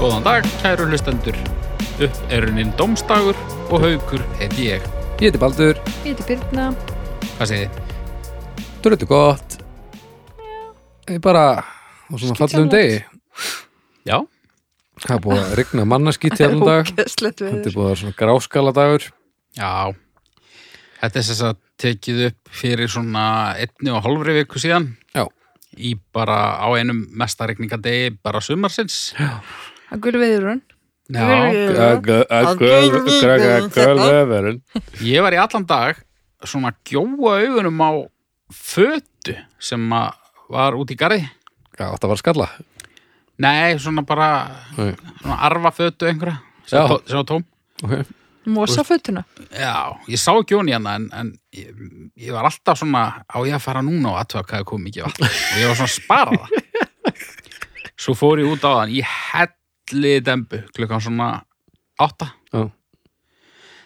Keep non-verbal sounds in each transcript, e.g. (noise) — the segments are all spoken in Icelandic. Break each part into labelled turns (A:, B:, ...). A: Góðan dag, kæru hlustendur. Upp er runnin domstagur og haukur heiti ég.
B: Ég heiti Baldur,
C: Ég heiti Birna
A: Hvað segið þið?
B: þú eru gott Ég bara, og svona fallum
C: Skítamót.
B: degi
A: Já,
B: Það er búið að rigna mannaskíti
C: (laughs)
B: allan dag
C: Ógeðslegt
B: Þetta er
C: veður
B: búið að vera svona gráskala dagur
A: já. Þetta er þess að tekið upp fyrir svona einni og hálfri viku síðan.
B: Já.
A: Í bara á einum mestarikningadegi bara sumarsins. Já.
C: Það er gulveðurun
A: Já,
B: Gölöverun
A: ég var í allan dag svona að gjóa augunum á fötu sem að var út í garði.
B: Já, þetta var að skalla
A: Nei, svona bara
B: Nei.
A: svona arfafötu einhverja.
B: Já.
A: Sjá tóm.
B: okay.
C: Mosa fötuna
A: Já, ég sá ekki hún í hana en, en ég, ég var alltaf svona á ég að fara núna og aðtöða hvað er komið mikið vatn og ég var svona að spara það Svo fór ég út á þann ég helli dembu klukkan svona átta
B: Já.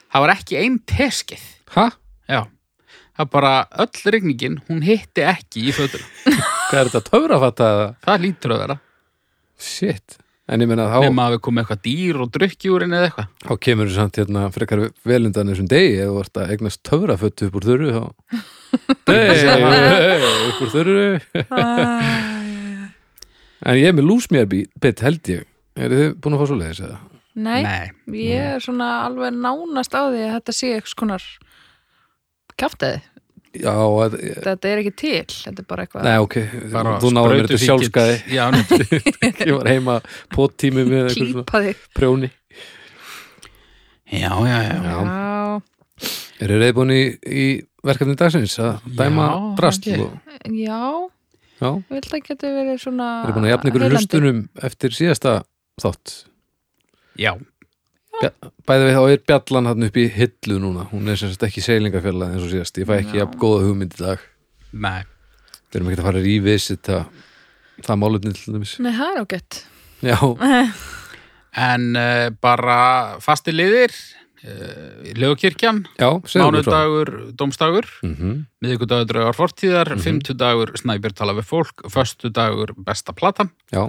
A: Það var ekki ein teskið
B: Ha?
A: Já, það bara öll rigningin hún hitti ekki í fötur
B: Hvað er þetta töfrafatta? eða?
A: Það lítur að vera
B: Shit En ég meina þá,
A: nema að við komið eitthvað dýr og drukkjúrin eða eitthvað
B: þá kemur þú samt hérna frekar velundan þessum degi ef þú ert að eignast töfraföttu upp úr þurru þá Nei, upp úr þurru En ég er með lúsmjörbitt held ég Eru þið búin að fá svo leiðis eða?
C: Nei,
A: Nei.
C: ég er svona alveg nánast á því að þetta sé eitthvað konar kjaftaði
B: Já, að,
C: Þetta er ekki til, þetta er bara eitthvað
B: nei ok
A: Bara
B: Þú náður mér þetta
A: sprautufíkill.
B: sjálfskaði
A: Já, nú,
B: Ég var heima póttími með einhver svona
C: klípaði
B: prjóni
A: já, já, já.
B: Já.
C: Já,
B: Eru þið reyðbúin í, í verkefni dagsins að dæma
A: Já,
B: drast
A: held ég.
B: og,
C: já,
B: Já,
C: ég held að geta verið svona
B: eru búin að jafna ykkur
C: Ah, heillandi.
B: hlustunum eftir síðasta þátt
A: já.
B: Bæði við þá er bjallan hann upp í hillu núna Hún er sem sagt ekki seilingafjalla eins og síðast Ég fæ ekki
C: Já.
B: jafn góða hugmynd í dag
A: Nei,
B: Við erum ekki að fara að rívisita það málefni til dæmis
C: Nei, það er ágætt
B: Já,
A: En uh, bara fasti liðir, uh, lögkirkjan,
B: já, segðu mér frá
A: mánudagur, dómstagur,
B: Mhm.
A: miðvikudagur draugar fortíðar, mm -hmm. fymtudagur snæbjör tala við fólk, föstudagur besta platan.
B: Já,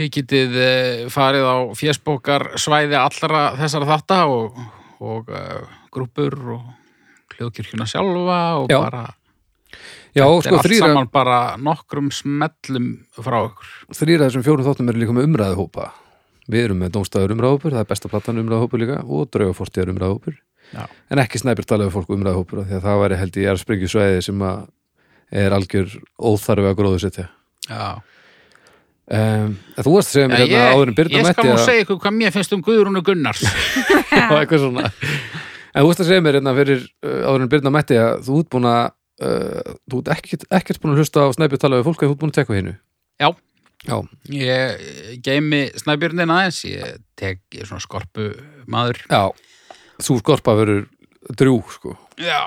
A: Þið getið uh, farið á fjesbókar svæði allra þessara þátta og, og uh, grúpur og hljóðkirkjuna sjálfa og
B: Já.
A: bara,
B: já
A: þetta er
B: sko
A: allt
B: þrýra,
A: saman bara nokkrum smellum frá okkur.
B: þrýra þessum fjórum þáttum eru líka með umræðuhópa Við erum með Dómstæður umræðuhópur, það er besta platan umræðuhópur líka og draugafortíðar umræðuhópur
A: Já.
B: en
A: en
B: ekki snæpjur talaðu fólk umræðuhópur af því að það væri held ég er sprengjusvæði sem að er algjör óþarfi að gróðusetja
A: Já.
B: um, en Þú varst að segja mér
A: Ég,
B: hérna áður en Birna
A: ég skal
B: mætti
A: nú
B: að-
A: segja ykkur hvað mér finnst um Guðrúnu Gunnars.
B: og eitthvað svona en þú veist að segja mér hérna fyrir uh, áður en Birna mætti að þú ert búin að uh, þú ert ekkert, ekkert búin að hlusta á snæpju tala við fólk en þú ert búin að tekka hennu
A: Já.
B: já,
A: Ég geimi snæbjörnin aðeins, ég tek ég er svona skorpu maður.
B: já, þú skorpa verður drjú sko
A: Já,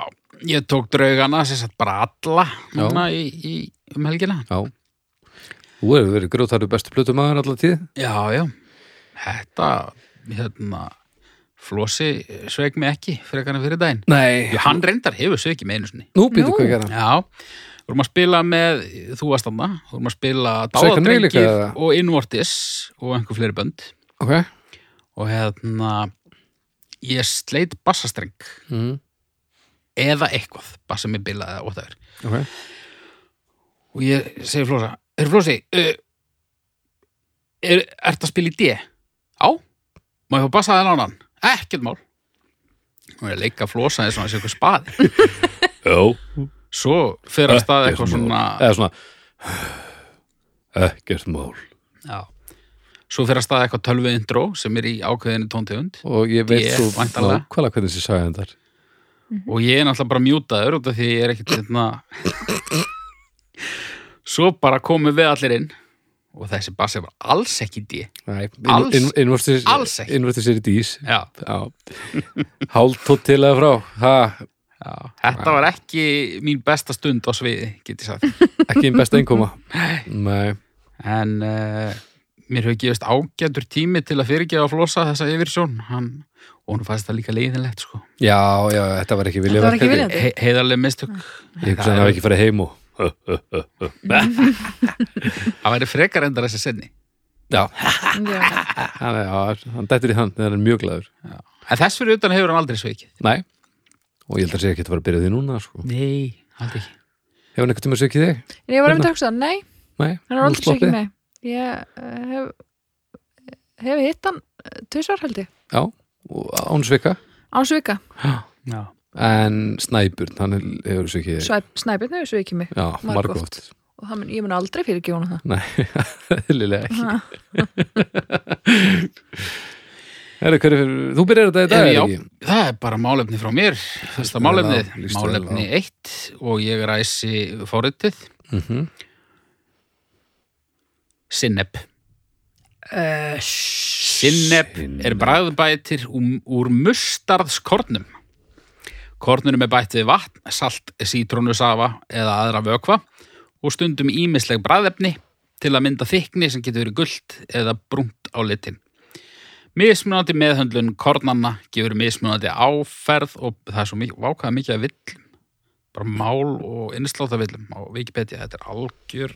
A: ég tók draugana, sem sagt bara alla
B: Já.
A: núna í, í, um helgina.
B: já, þú hefur verið grjótarðu bestu plötumæður allar tíð
A: Já, já, þetta, hérna, flosi sveik mig ekki frekar en fyrir daginn.
B: nei,
A: Já, hann reyndar hefur sveikið með einu sinni.
B: nú býtu
C: Nú.
B: hvað gera
A: Já, vorum að spila með, þú varst þarna, vorum að spila
B: Sveik hann mig líka,
A: dáðadrengir
B: eða?
A: og innvortis og einhver fleiri bönd.
B: ok,
A: Og hérna, ég sleit bassastreng.
B: mm.
A: eða eitthvað, bara sem ég bilaði eða óttæður
B: ok
A: og ég segi Flósa, er Flósi uh, er, ert að spila í D? Já má ég fá bassa þennan annan? Ekkert mál og ég leika Flósa eins og hans eitthvað spaði
B: já,
A: svo fer að staða eitthvað svona
B: eða svona ekkert mál
A: já, svo fer að staða eitthvað tölvið intro sem er í ákveðinu tóntegund
B: og ég veit
A: Ég,
B: svo
A: væntanlega.
B: nákvæmlega hvernig þessi sagði þetta
A: og ég er náttúrulega bara mjútaður út af því ég er ekkert hérna svo bara komum við allir inn og þessi bassi var alls ekki í D
B: Nei,
A: Alls-
B: inn- innvortis-
A: alls ekki.
B: innvortis er í dís
A: já
B: hálftótt til að frá ha,
A: Já, þetta var ekki mín besta stund á sviði, get ég (laughs) sagt.
B: ekki einn besta einkoma Nei,
A: En uh, mér hefur gefist ágætur tími til að fyrirgefa að flosa þessa yfirsjón. Hann, og hún fannst það líka leiðinlegt, sko.
B: já, já, þetta var ekki vilja
C: Þetta var ekki viljað.
A: He heiðarlega mistök.
B: ég hugsa að það var ekki farið heim og
A: Það væri frekar endar þessi senni.
B: Já,
C: Já.
B: hann, já, hann dættir í hann þegar hann er mjög glæður
A: En þess fyrir utan hefur hann aldrei sveikið.
B: Nei, og ég held að segja ekki að fara að byrja á því núna sko.
A: Nei, aldrei ekki.
B: Hefur hann eitthvað tíma að segja ekki þig?
C: En ég var einmitt að hugsa, nei,
B: Nei,
C: hann er aldrei sveikið mig Ég eh, hef hef hitt hann eh, tvisvar held ég,
B: Já, og án sveika
C: án svika
A: Já.
B: En snæbjörn, hann er- hefur sveikið þig
C: Snæbjörn hefur svikið mig
B: Já, margótt
C: Margoft. og það mun, ég mun aldrei fyrir ekki hún það
B: Nei, (laughs) eðlilega ekki
C: Ha.
B: Heru, hver, er- Þú byrjar þetta í dag,
A: Já,
B: er ekki?
A: Það er bara málefni frá mér. Fyrsta
B: Líst
A: málefni,
B: vel á, líst vel
A: málefni eitt og ég ræsi fóritið,
B: Mhm.
A: sinneb.
C: Eh,
A: Sinneb er
B: Sinnep.
A: bræðbætir um, úr mustarðskornum. Kornunum er bætt við vatn, salt, sítrónusafa eða aðra vökva og stundum ímisleg bræðefni til að mynda þykni sem getur verið gult eða brúnt á litin. Mismunandi meðhöndlun kornanna gefur mismunandi áferð og það er svo mikið, vákaða mikið að villum. Bara mál og innsláta villum á Wikipedia. Þetta er algjör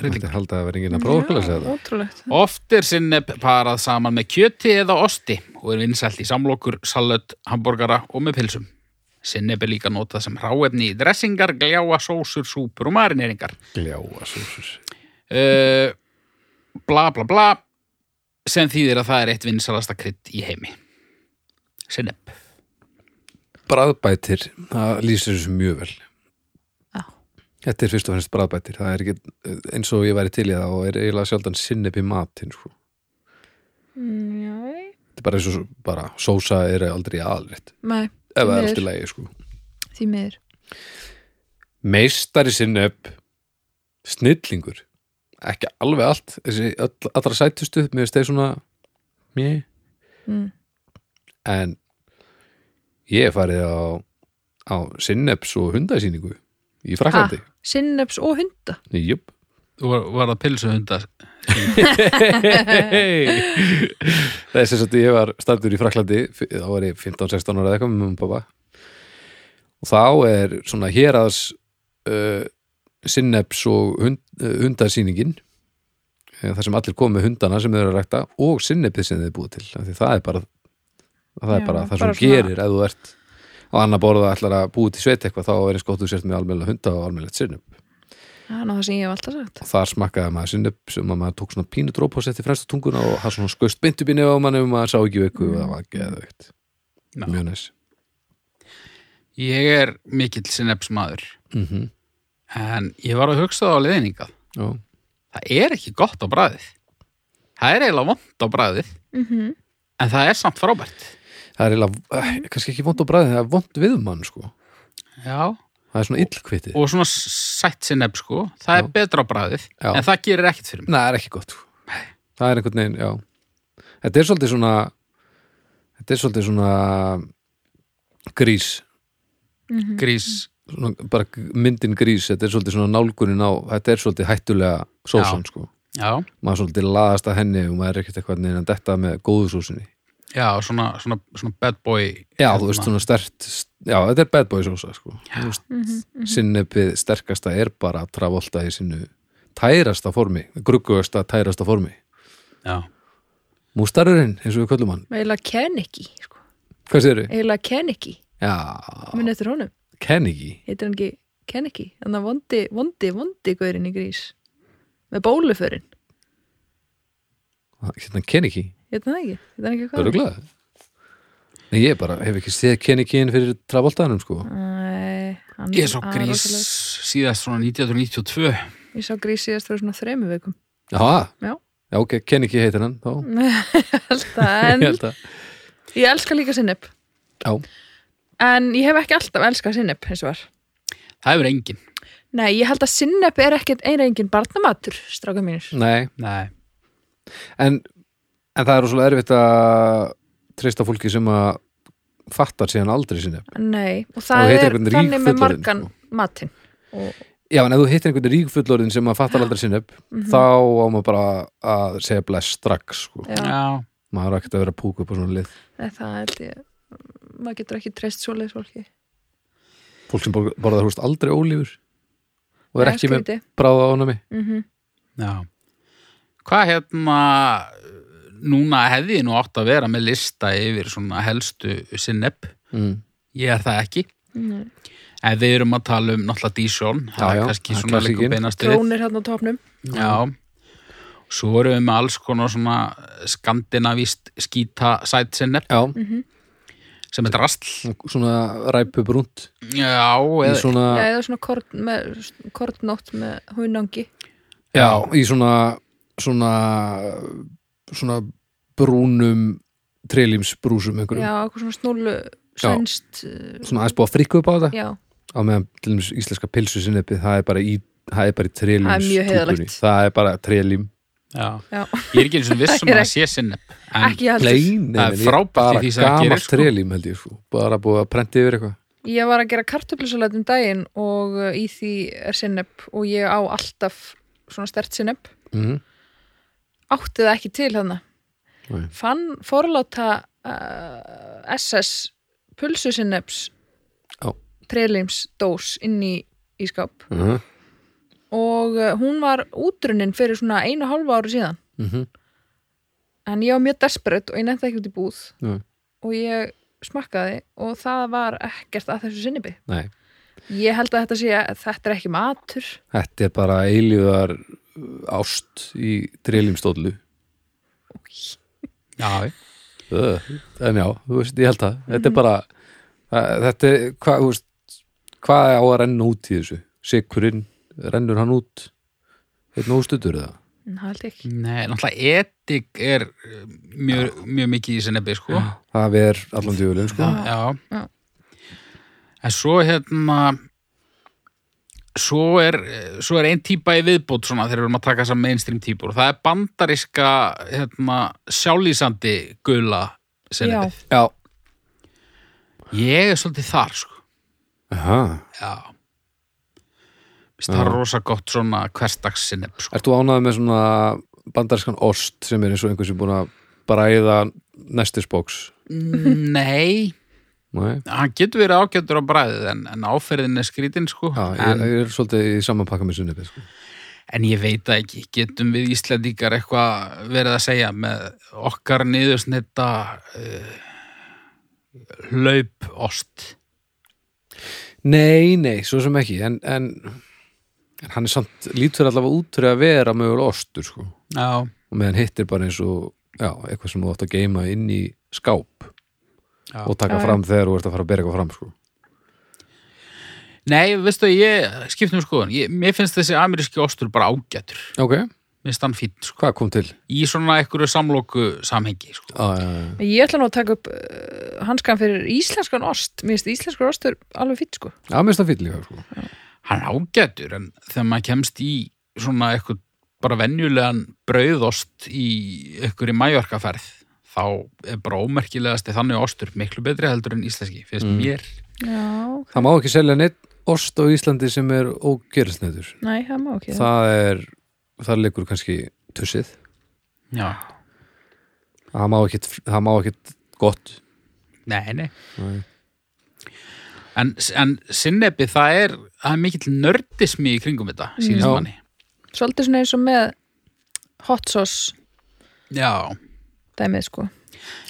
A: rilling.
B: Þetta er haldið að vera enginn að
C: já,
B: prófklæsa þetta
C: Ótrúlegt
A: Oft er sinneb parað saman með kjöti eða osti og er vinsælt í samlokur, salöt, hambúrgara og með pilsum. Sinneb er líka notað sem ráefni í dressingar, gljáa, sósur, súpur og marineringar.
B: Gljáa súsus
A: Uh, bla bla bla sem þýðir að það er eitt vinsælasta krydd í heimi. Sinneb.
B: Bræðbætir, það lýsir þessu mjög vel
C: Já.
B: Þetta er fyrst og fremst bræðbætir Það er ekki eins og ég væri til í það og er eiginlega sjaldan sinneb í matinn sko.
C: Mm, Njá,
B: Þetta er bara eins og bara, sósa er aldrei aðalrétt
C: nei,
B: ef það er
C: Miður.
B: allt í lagi sko.
C: því miður
B: Meistari sinneb snillingur ekki alveg allt þessi öll, allra sætustu, mér veist þeir svona mér
C: mm.
B: en ég hef farið á, á sinneps og hundasýningu í Fraklandi
C: Sinneps og hunda
B: Jöp
A: Þú var, var það pilsuhundar.
B: Það er sem sagt ég var stættur í Fraklandi þá var ég 15-16 ára eða eitthvað með mjög pappa og þá er svona hér aðs uh, sinneps og hund, uh, hundasýningin Eh, þar sem allir kom með hundana sem þau eru að rækta og sinnepið sem þau búið til af því það er bara það er
C: Já,
B: bara það sem
C: bara
B: þú
C: svona-
B: gerir ef þú ert á annar borða ætlar að búið til sveit eitthvað þá er eins gott þú sért með almennlega hunda og almennlegt sinnep
C: Það er nú það sem ég hef alltaf sagt
B: og þar smakkaði maður sinneb sem að maður tók svona pínu drópa og setti fremst á tunguna og það svona skust beint upp í nefum mann ef maður sá ekki veiku og það var geðveikt
A: Já.
B: mjög næs
A: Ég er mikill sinnebsmaður
B: mm -hmm.
A: en ég var að hugsa það á leðningað.
B: já,
A: Það er ekki gott á bræðið. Það er eiginlega vond á bræðið
C: mm -hmm.
A: En það er samt frábært.
B: það er eiginlega eh, kannski ekki vond á bræði, það er vond við mann sko
A: Já.
B: það er svona illkvitið
A: Og svona sætt sinneb, sko, það er
B: Já.
A: betra á bræðið,
B: Já.
A: en það gerir ekkert fyrir mig.
B: Nei, það er ekki gott sko. það er einhvern veginn, já þetta er svolítið svona þetta er svolítið svona grís,
A: Grís,
B: svona, bara myndin grís þetta er svolítið svona nálgunin á þetta er svolítið hættulega sósan sko
A: já,
B: maður svolítið laðast að henni og maður er ekkert eitthvað neina detta með góðu sósunni
A: já, svona, svona, svona bad boy.
B: já,
A: hérna.
B: þú veist svona stert já, þetta er bad boy sósa sko Þú veist,
C: Mhm,
B: sinnepið sterkasta er bara að travolta í sinu tærasta formi gruggugasta tærasta formi
A: Já,
B: mústarurinn, eins og við köllum hann
C: Eiginlega Keniki sko.
B: hvað séru?
C: Eiginlega Keniki,
B: já,
C: minn eftir honum
B: Kennigi
C: heitir hann ekki Keniki þannig að vondi, vondi, vondi gaurinn í grís með bóluförin
B: hérna Kennigi,
C: heitir hann það ekki, heitir hann ekki
B: það eru
C: hvað
B: glæð Nei, ég bara hef ekki séð Kennigiinn fyrir travoltaðanum sko
C: Mm. Æ, hann,
A: ég svo
C: hann er
A: grís
C: rosalegur.
A: síðast svona 1992.
C: ég sá grís síðast fyrir svona þremu vikum
B: já,
C: Já.
B: já ok, Kennigi heitir hann þá,
C: alltaf,
B: (laughs) ég
C: en
B: held að
C: ég elska líka sinneb
B: já,
C: en ég hef ekki alltaf elskað sinneb eins og var
A: Það hefur engin.
C: Nei, ég held að sinneb er ekkert eina engin barnamatur, stráka mínir.
B: nei
A: Nei.
B: en, en það er rosalega erfitt að treysta fólki sem að fattar síðan aldrei sinni
C: Nei,
B: Mm.
C: og
B: Og
C: það
B: heitir
C: er
B: einhvern sko. rík
C: þannig með
B: fullorðinn,
C: margan matinn. Og,
B: já, en ef þú hittir einhvern rík fullorðin sem að fattar aldrei sinni
C: Mhm.
B: þá á maður bara að segja bless strax sko.
C: já,
A: Já,
B: maður er ekkert að vera að púka upp á svona lið
C: Nei, það held ég, maður getur ekki treyst svoleiðis fólki.
B: fólk sem bor- borðar húst aldrei ólífur og er
C: Nei,
B: ekki með
C: skrítið.
B: bráða ánami
A: já. Hvað hérna núna hefði ég nú átt að vera með lista yfir svona helstu sinneb
B: mm.
A: ég er það ekki
C: Nei.
A: en við erum að tala um náttúrulega Dísjón það
B: Já, já,
A: er kannski
B: það er
A: svona líka
B: klassíkin.
A: beinast við
C: Drónir hérna á topnum
A: Já Svo erum við með alls konar svona skandinavíst skýta sætsinneb
B: Já,
A: sem er drastl
C: Mhm.
B: svona ræpu brúnt
A: Já,
B: í
A: eða,
B: svona,
C: Já, eða svona korn, með, kornótt með hunangi
B: já, í svona svona svona brúnum trelímsbrúsum einhverjum,
C: Já, eitthvað svona snúlu svenst uh,
B: svona aðeins búið að frikku upp á þetta
C: Já,
B: á meðan til dæmis íslenska pilsu sinnepið það er bara í, það er bara í
C: Það er mjög
B: trelímstúkunni
C: heiðarlegt.
B: það er bara trelím
A: já.
C: já,
A: Ég er ekki eins og vissum
C: Ég
A: um að
C: er
A: það sé sinneb en,
C: (laughs) ekki heldur
B: Nei, nei,
A: Það er
B: nei,
A: frábært
B: bara
A: í því sem það
B: gamalt
A: gerir, sko.
B: trelím held ég sko, bara búið að prenti yfir eitthvað
C: Ég var að gera kartöflusalat um daginn og uh, í því er sinneb og ég á alltaf svona stert sinneb
A: Mhm.
B: mm
C: átti það ekki til hérna
B: Nei.
C: fann forláta uh, SS pulsu sinneps
B: Já.
C: trelinsdós inn í, í skáp
B: -hmm.
C: og uh, hún var útrunnin fyrir svona einu og hálfa ári síðan
A: Mhm.
C: en ég var mjög desperate og ég nefndi ekki út í búð
B: Nei.
C: og ég smakkaði og það var ekkert að þessu sinnebi
B: Nei,
C: ég held að þetta sé að þetta er ekki matur
B: þetta er bara eilíðar ást í trelímstólu
A: Já,
B: Ö, en já, þú veist, ég held það þetta
C: Mhm.
B: er bara að, þetta er, hvað, þú veist hvað á að renna út í þessu sikurinn, rennur hann út einn óstutur eða
C: en það held ég ekki
A: nei, náttúrulega etik er eh, mjög, mjög mikið í sinnebi sko.
B: það er allan djúlinn sko
A: Já, já.
C: Já.
A: En svo hérna svo er, eh, svo er ein típa í viðbót svona þegar við erum að taka þessar mainstream típur og það er bandariska hérna, sjálýsandi gula
C: Já,
A: sinnebið.
B: já,
A: Ég er svolítið þar sko.
B: Aha.
A: Já. Vist, það er rosa gott svona hverstags sinneb
C: (laughs)
A: sko.
B: ertu ánægð með svona bandarskan ost sem er eins og einhver sem er búin að bræða nestisbox
A: Nei,
B: Nei.
A: hann getur verið ágættur á bræðið en, en áferðin er skrítin sko.
B: Já,
A: en,
B: ég, ég er svolítið í samanpakka með sunnipið sko.
A: En ég veit það ekki, getum við Íslandíkar eitthvað verið að segja með okkar niðursnetta uh, hlaupost.
B: Nei, nei, svo sem ekki en, en, en hann er samt lítur allavega út fyrir að vera mögulega ostur sko.
A: Já,
B: og meðan hitt er bara eins og já, eitthvað sem þú átt að geima inn í skáp
A: Já.
B: og taka
C: Já, já.
B: fram þegar þú ert að fara að bera eitthvað fram sko.
A: nei, veistu, ég skiptum skoðun, ég, mér finnst þessi ameríski ostur bara ágætur,
B: Ok,
A: mér finnst hann fínt, sko,
B: hvað kom til?
A: í svona einhverju samlóku samhengi, sko.
B: Ah, já, já.
C: Ég ætla nú að taka upp uh, hanskan fyrir íslenskan ost. Mér finnst íslenskur ostur alveg fýtt sko.
B: Já, mér finnst það fýll líka sko.
A: Hann er ágætur, en þegar maður kemst í svona eitthvað bara venjulegan brauðost í einhverju mæjorkaferð, þá er bara ómerkilegasti þannig ostur miklu betri heldur en íslenski, finnst mér.
C: Já,
B: Það má ekki selja neitt ost á Íslandi sem er ógerðsneitur
C: nei, það má ekki.
B: Það er, það liggur kannski tussið
A: Já.
B: Það má ekkit, það má ekkit gott
A: Nei, nei.
B: Nei.
A: En, en sinnebi, það er, það er mikill nördismi í kringum þetta, sínist
B: Já.
A: manni.
C: Svolítið svona eins og með hot sauce
A: Já.
C: dæmið sko.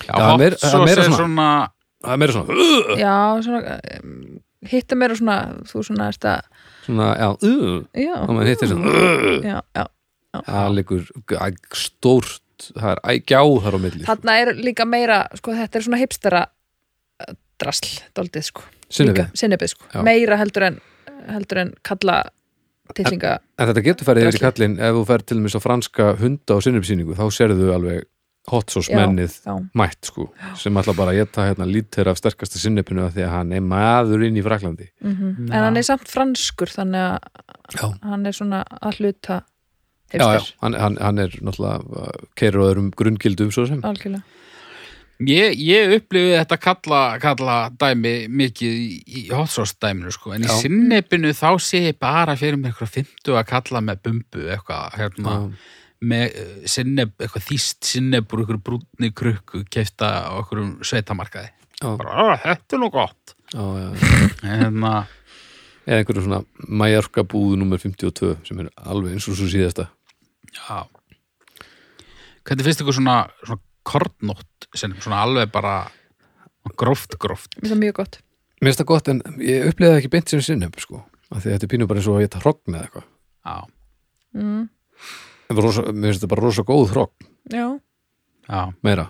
A: Já,
B: það er meira- það er
A: sauce
B: meira
A: er
B: svona.
A: svona,
B: Það er meira svona,
C: Já, svona, um, hitta meira svona, þú svona ert að,
B: svona já, uh,
C: já,
B: þá maður hittir svona uh,
C: já, já.
B: Það liggur g- stórt, það er ægjá þar á milli sko.
C: Þarna er líka meira, sko, þetta er svona hipstara uh, drasl, doldið sko.
B: Sinnepið.
C: Líka, Sinnebið sko.
B: Já.
C: Meira heldur en, heldur en kalla tillinga.
B: En þetta getur farið yfir í
C: Drasli.
B: kallinn ef þú ferð til og með svo franska hunda og sinnupsýningu þá sérðu alveg hot sauce
C: Já,
B: mennið
C: já.
B: mætt sko sem ætla bara að geta hérna lítir af sterkasta sinnupinu af því að hann er maður inn í Fraklandi
C: En hann er samt franskur, þannig að
B: Já.
C: hann er svona að hluta
B: Já, já,
C: hipster,
B: hann, hann, hann er náttúrulega keirur á öðrum grunngildum svo sem
C: algjörlega.
A: ég, ég upplifið þetta kalla, kalla dæmi mikið í, í hot sauce dæminu, sko. En
B: Já.
A: í sinnebinu þá sé ég bara fyrir mér eitthvað fymtu að kalla með bumbu, eitthvað, hérna, með eh, sinneb, eitthvað þýst sinnebur, eitthvað brúnni krukku, kefta á eitthvað sveitamarkaði.
B: Já.
A: Bara, "Ah, þetta er nú gott.
B: Já, já, já.
A: Hérna,
B: eða einhverjum svona Mallorca búð nummer 52 sem er alveg eins og svo síðasta
A: já. Hvernig finnst ykkur svona, svona kortnótt sem svona alveg bara gróft, gróft?
C: Mér finnst það mjög gott
B: Mér finnst það gott en ég upplýði það ekki beint sem sinnum sko, af því að þetta er pínu bara eins og að geta hrogg með eitthvað
A: Já,
C: mm,
B: En rosa, Mér finnst þetta bara rosa góð hrogg
C: Já,
A: já.
B: meira,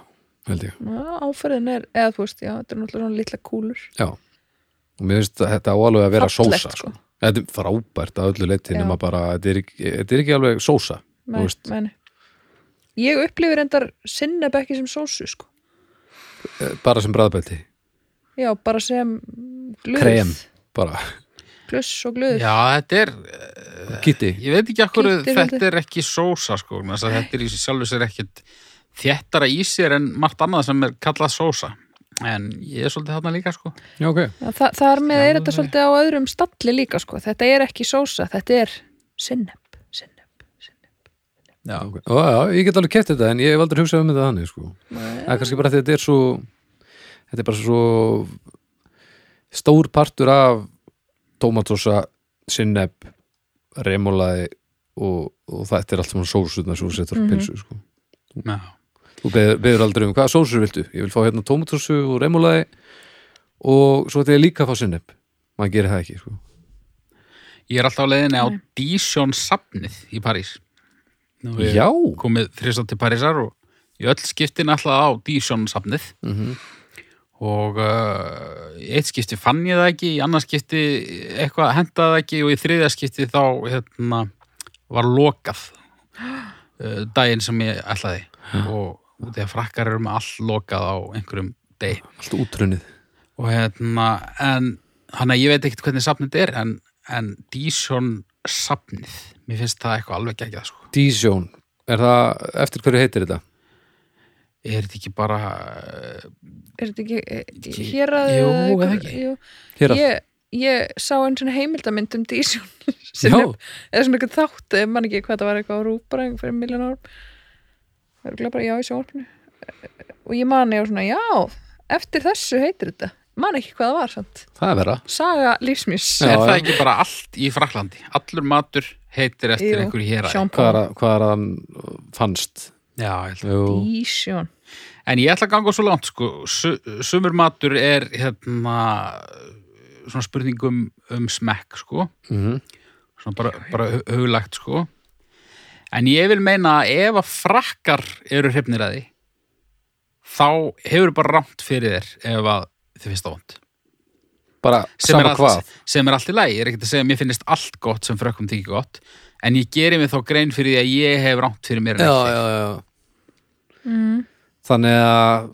B: held ég
C: já, áferðin er eða þú veist, já, þetta er náttúrulega svona litla kúlur
B: Já, og mér finnst að þetta á alveg að vera
C: Fallegt,
B: sósa
C: sko.
B: sko. Þetta er frábært að öllu leyti
C: Já.
B: nema bara, þetta er, ekki, þetta er ekki alveg sósa
C: Nei,
B: Þú veist.
C: nei, nei. Ég upplifir endar sinneb ekki sem sósu sko.
B: eh, bara sem bræðbælti,
C: Já, bara sem glöð
B: krem bara,
C: Gluss og glöð
A: Já, þetta er,
C: Eh,
B: kitti
A: ég veit ekki akkur
C: Gildir
A: þetta
C: svolítið.
A: er ekki sósa sko, vegna þess að þetta er í sjálfu sér ekkit þéttara í sér en margt annað sem er kallað sósa. En ég er svolítið þarna líka sko.
B: Já, ok,
C: Þa, Þar með er þetta
A: Sjálfur.
C: svolítið á öðrum stalli líka sko. Þetta er ekki sósa, þetta er sinneb, sinneb, sinneb.
A: Já,
B: ok. Ó, já, ég get alveg keft þetta en ég hef aldrei hugsað um þetta þannig sko.
C: Nei.
B: það er kannski bara því að þetta er svo þetta er bara svo stór partur af tómatósa, sinneb remulaði og, og þetta er allt saman sósunar sem þú setur mm
C: Mhm.
B: pinsu sko.
A: já.
B: þú beður, beður aldrei um hvaða sósur viltu ég vil fá hérna tómatósu og remulaði og svo ætti ég líka að fá sinneb maður gerir það ekki sko.
A: Ég er alltaf á leiðinni á Dijon safnið í París. Nú er
B: já,
A: komið þrjóðstátt til Parísar og í öll skiptin alltaf á Dijon safnið
B: mm
A: og uh, í eitt skipti fann ég það ekki, í annars skipti eitthvað hendaði það ekki og í þriðja skipti þá hérna, var lokað (gasps) uh, daginn sem ég ætlaði og út í að frakkar eru með allt lokað á einhverjum deg
B: allt útrunnið
A: og hérna en hann að ég veit ekkert hvernig safnið er en, en Dijon safnið mér finnst það eitthvað alveg ekki sko.
B: Dijon, er það, eftir hverju heitir þetta?
A: er þetta ekki bara eh,
C: Er þetta ekki eh,
A: Ekki-
C: hér að
A: Jú, eða ekki.
B: Hér að
C: Ég, ég sá einn svona heimildamynd um (laughs) Dísjón
B: Já.
C: sinneb, eða svona eitthvað þátt ég man ekki hvað það var eitthvað á rúpar fyrir miljón árum það er bara já í sjónvarpinu og ég man ég var svona já, eftir þessu heitir þetta man ekki hvað það var sant?
B: það er vera
C: Saga lífsmís
B: Já,
A: er það
B: já.
A: ekki bara allt í Fraklandi allur matur heitir eftir
C: Jú,
A: einhverju hér
C: Sean
B: hvað er,
C: Paul
B: að- hvað er að hann uh, fannst
A: Já, ég held að-
B: Jú.
C: Dísjón
A: en ég ætla að ganga svo langt sko. Su- sumur matur er hérna svona spurningum um smekk sko.
B: Mhm.
A: svona bara, bara hu- huglægt sko. en ég vil meina að ef að frakkar eru hrifnir að því þá hefur bara rámt fyrir þér ef að þið finnst það vond
B: bara
A: sem er,
B: sama
A: allt,
B: hvað
A: sem er allt í lagi, ég er ekkert að segja að mér finnist allt gott sem frökkum þykir gott en ég geri mig þá grein fyrir því að ég hef rámt fyrir mér en ekki.
B: já, já. þannig að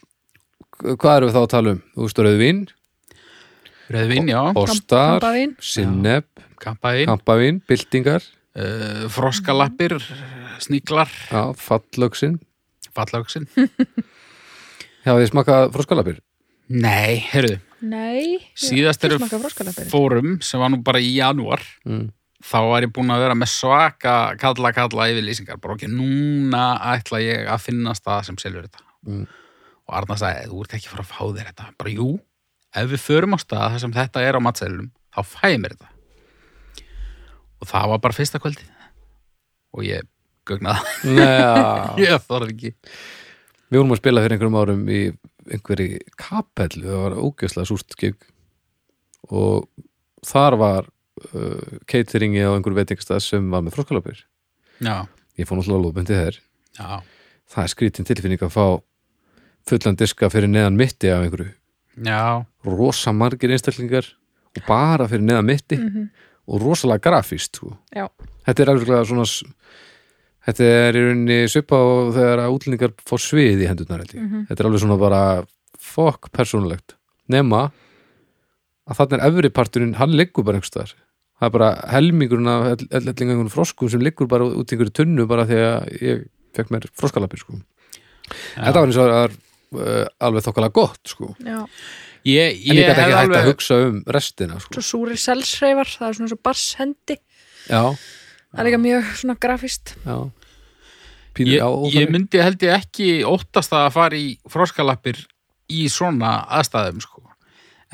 B: hvað erum við þá að tala um? Þú veist, rauðvín,
A: Rauðvin, já,
B: ostar,
C: kampavín.
B: sinneb,
A: kampaðin,
B: kampavín, byltingar,
A: uh, froskalappir, sníklar,
B: já, fallöksin.
A: fallauksin.
B: Já, ég smakað froskalapir.
A: Nei, heyrðu,
C: Nei,
A: síðast
C: ég
A: eru
C: smakka froskalapir
A: fórum sem var nú bara í janúar,
B: Mm.
A: þá var ég búin að vera með svaka kalla kalla yfirlýsingar, bara ok, núna ætla ég að finna stað sem selur þetta.
B: Mm.
A: Og Arna sagði, þú ert ekki að fara að fá þér þetta. Bara jú, ef við förum á stað þar sem þetta er á matselunum, þá fæ ég mér þetta. Og það var bara fyrsta kvöldið. Og ég gögnaði,
B: Nei,
A: (laughs) ég þorði ekki.
B: Mm. við vorum að spila fyrir einhverjum árum í einhverju kapellu, það var ógjöfslega súrt gig og þar var uh, cateringi á einhverju veitingstað sem var með froskalapir.
A: Já,
B: Ég fór náttúrulega lóðbundið þeir.
A: já,
B: það er skrítin tilfinning að fá fullan diska fyrir neðan mitti af einhverju,
A: já.
B: rosa margir einstaklingar og bara fyrir neðan mitti og rosalega grafíst sko.
C: Já,
B: þetta er alveg svona s- þetta er í rauninni svipa og þegar að útlendingar fá svið í hendurnar mm -hmm. þetta er alveg svona bara fokk persónulegt, nema að þarna er efri parturinn, hann liggur bara einhverstaðar það er bara helmingurinn af ell- ell- ellinga einhvern froskum sem liggur bara út í einhverju tunnu bara því að ég fekk mér froskalapir sko. Þetta var eins og var, uh, alveg þokkalega gott sko.
C: já
B: En
A: Ég,
B: ég, ég
A: ég
B: gæti
A: hef
B: ekki hægt að
A: alveg,
B: hugsa um restina sko.
C: Svo súri selsreifar, það er svona svo barshendi
B: Já,
C: Það er líka mjög svona grafist
B: já Pínu,
A: ég,
B: já, og
A: ég
B: þannig.
A: myndi held ég ekki óttast að fara í froskalappir í svona aðstæðum sko.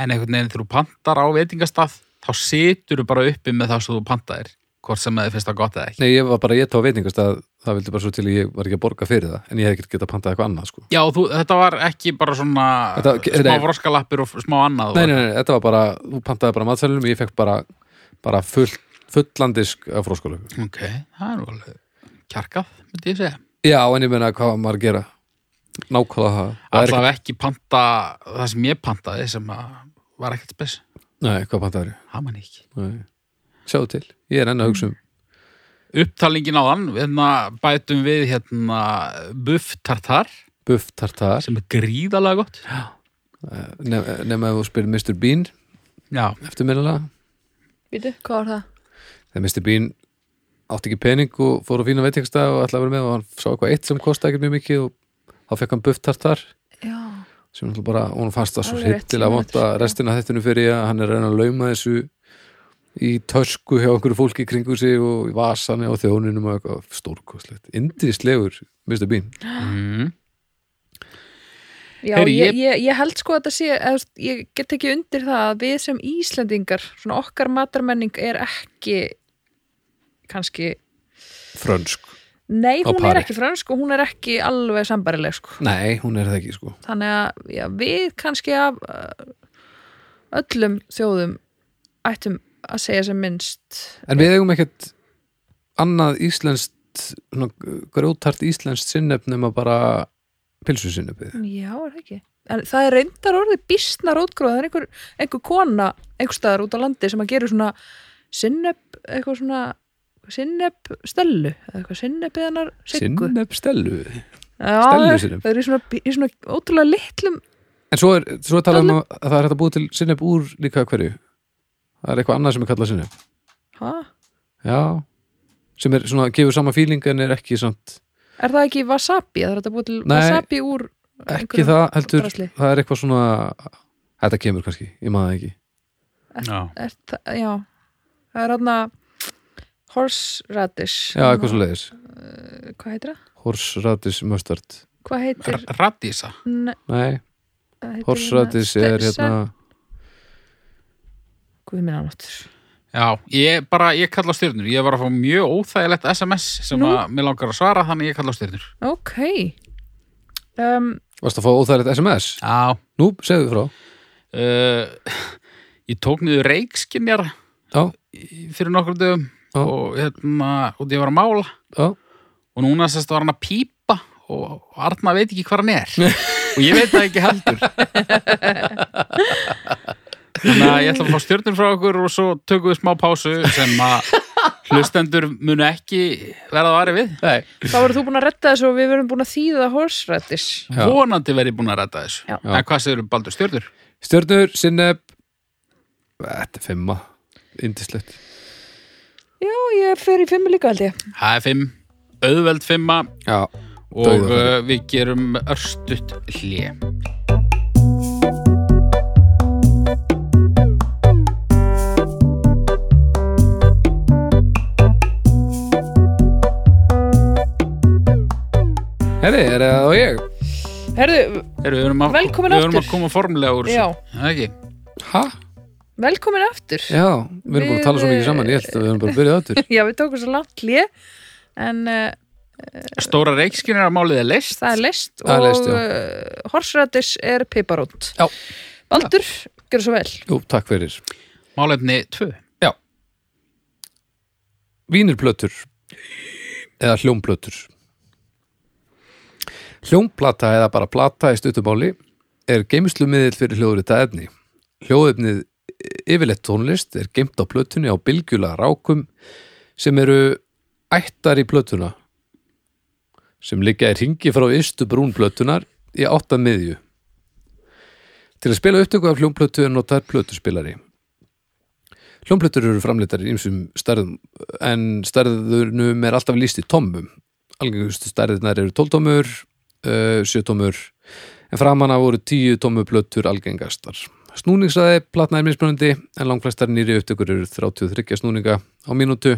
A: En einhvern veginn þegar þú pantar á veitingastað, þá situr þú bara uppi með það sem þú pantaðir, hvort sem það er fyrst að gott eða ekki.
B: Nei, ég var bara, ég tóð veitingast að það vildi bara svo til að ég var ekki að borga fyrir það en ég hef ekkert getað pantað eitthvað annað sko.
A: Já, þú, þetta var ekki bara svona
B: Þetta- nei.
A: smá vroskalappir og smá annað
B: nei, nei, nei, þetta var bara, þú pantaði bara matselunum og ég fekk bara, bara full, fullandisk af fróskulegu
A: Ok, það er nú alveg kjarkað, myndi ég segja
B: já, en ég meina hvað á maður að gera nákvæmlega það Það er ekki,
A: Allavega ekki panta það sem ég pantaði sem að var ekkert spes
B: nei, hvað pantaði
A: Það man ég ekki
B: Nei. Sjáðu til, ég er enn að hugsa um
A: Upptalningin á þann, hérna bætum við hérna buff tartar
B: buff tartar
A: sem er gríðalega gott
B: nef- nema ef þú spyrir Mr. Bean
A: Já,
B: eftir minnilega
C: Býtu, hvað var það?
B: þegar Mr. Bean átti ekki pening og fór á fína veitingsta og ætlaði að vera með og hann sá eitthvað eitt sem kostaði ekki mjög mikið og þá fekk hann buff tartar
C: Já,
B: sem náttúrulega bara, hún fannst það svo
C: Alveg rétt
B: hittilega vont að
C: tímaður, já.
B: restina þetta nú fyrir ég að hann er að reyna að lauma þessu í tösku hjá einhverju fólki í kringu sig og í vasani og þjóninum og eitthvað stórkostlegt, indislegur Mr. Bean,
A: mm.
C: já
A: Heyrðu,
C: ég,
A: ég-
C: ég, ég held sko að þetta sé eða, þú veist, ég get ekki undir það að við sem Íslendingar, svona okkar matarmenning er ekki kannski,
B: frönsk
C: nei
B: Á
C: hún
B: pari.
C: er ekki fransk og hún er ekki alveg sambarileg sko
B: Nei, hún er það ekki sko
C: þannig að já, við kannski af uh, öllum þjóðum ættum að segja sem minnst
B: En við eigum ekkert annað íslenskt svona, grjótart íslenskt sinnefn nema bara pilsu sinnefið
C: já, er það ekki en það er reyndar orðið býstna rótgróð það er einhver, einhver kona einhver staðar út á landi sem að gera svona sinnepp, eitthvað svona sinnepp stellu eða eitthvað sinnepp eða hennar siggu
B: Sinnef stelu
C: Já,
B: Stellusinnep.
C: það er í svona, í svona ótrúlega litlum
B: En svo er, svo er talað um að að það er hægt að búa til sinnef úr líka hverju Það er eitthvað annað sem er kallað sinnef
C: ha?
B: Já sem er svona, gefur sama fíling en er ekki samt,
C: er það ekki wasabi, það er þetta búið til
B: Nei,
C: wasabi úr
B: ekki
C: einhverjum
B: það heldur
C: drasli.
B: það er eitthvað svona þetta kemur kannski, ég maður það ekki
A: Já,
C: er það, já það er hérna horseradish
B: Já, eitthvað svo leiðis,
C: leiðis hvað heitir það?
B: horsradis mustard
C: hvað heitir?
A: R- radísa
C: Nei,
B: Nei,
C: það heitir
B: horsradis
C: hérna-
B: er hérna
C: guð minna náttur
A: Já, ég bara, ég kalla á styrnur Ég var að fá mjög óþægilegt SMS sem
C: Nú?
A: að mér langar að svara, þannig ég kalla á styrnur
C: ok um,
B: Varst að fá óþægilegt SMS?
A: Já,
B: Nú, segðu frá
A: uh, ég tók niður reikskinjar
B: Já,
A: í- fyrir nokkrum dögum
B: Já.
A: og hérna, og ég var að mála
B: já,
A: og núna sérst var hann að pípa og, og Arna veit ekki hvað hann er og ég veit það ekki heldur þannig að ég ætla að fá stjörnur frá okkur og svo tökum við smá pásu sem að hlustendur munu ekki verða að vari við
B: nei
C: þá voru þú búin að retta þessu og við verum búin að þýða horseradish
B: Já.
A: vonandi verði búin að ræta þessu
C: Já.
A: en hvað segir Baldur stjörnur?
B: Stjörnur, sinneb Þetta er fimma Indislegt
C: já, ég fer í fimmu líka held ég
A: Það er fimm, auðveld fimma
B: Já,
A: og
B: Dauðafæri.
A: uh, við gerum örstutt hlið
B: herri, er það og ég
C: herðu,
A: Heru, við erum að,
C: Velkomin
A: við erum
C: aftur.
A: að koma formulega úr
C: Já.
A: þessu Það ekki?
B: Ha?
C: velkomin aftur
B: Já, við erum búin að tala svo mikið saman Ég held að við erum bara að byrja öttur
C: já, við tókum svo langt hlje en uh,
A: Stóra reikskinnir að málið er leist
C: það er list
B: Það er leyst,
C: og
B: já.
C: uh, horseradish er piparótt
B: Já.
C: Baldur, gerðu svo vel
B: Jú, takk fyrir
A: Málefni 2
B: Vínirplötur Eða hljómplötur Hljómplata eða bara plata í stuttumáli er geimslumiðil fyrir hljóðrita efni. Hljóðefnið e, yfirleitt tónlist er geimt á plötunni á bylgjula rákum sem eru ættar í plötuna sem liggja í ringi frá ystu brún plötunar í átta miðju. Til að spila upptöku af hljómplötu er notaður plötuspilari. Hljómplötur eru framleitar í ymsum stærðum en stærðunum er alltaf líst í tommum. Algengustu stærðunar eru 12 tommur, uh, 7 tommur en framan af voru 10 tommu plötur algengastar. Snúningsraði platna er mismunandi en langflestar nýri upptökur eru 33 snúninga á mínútu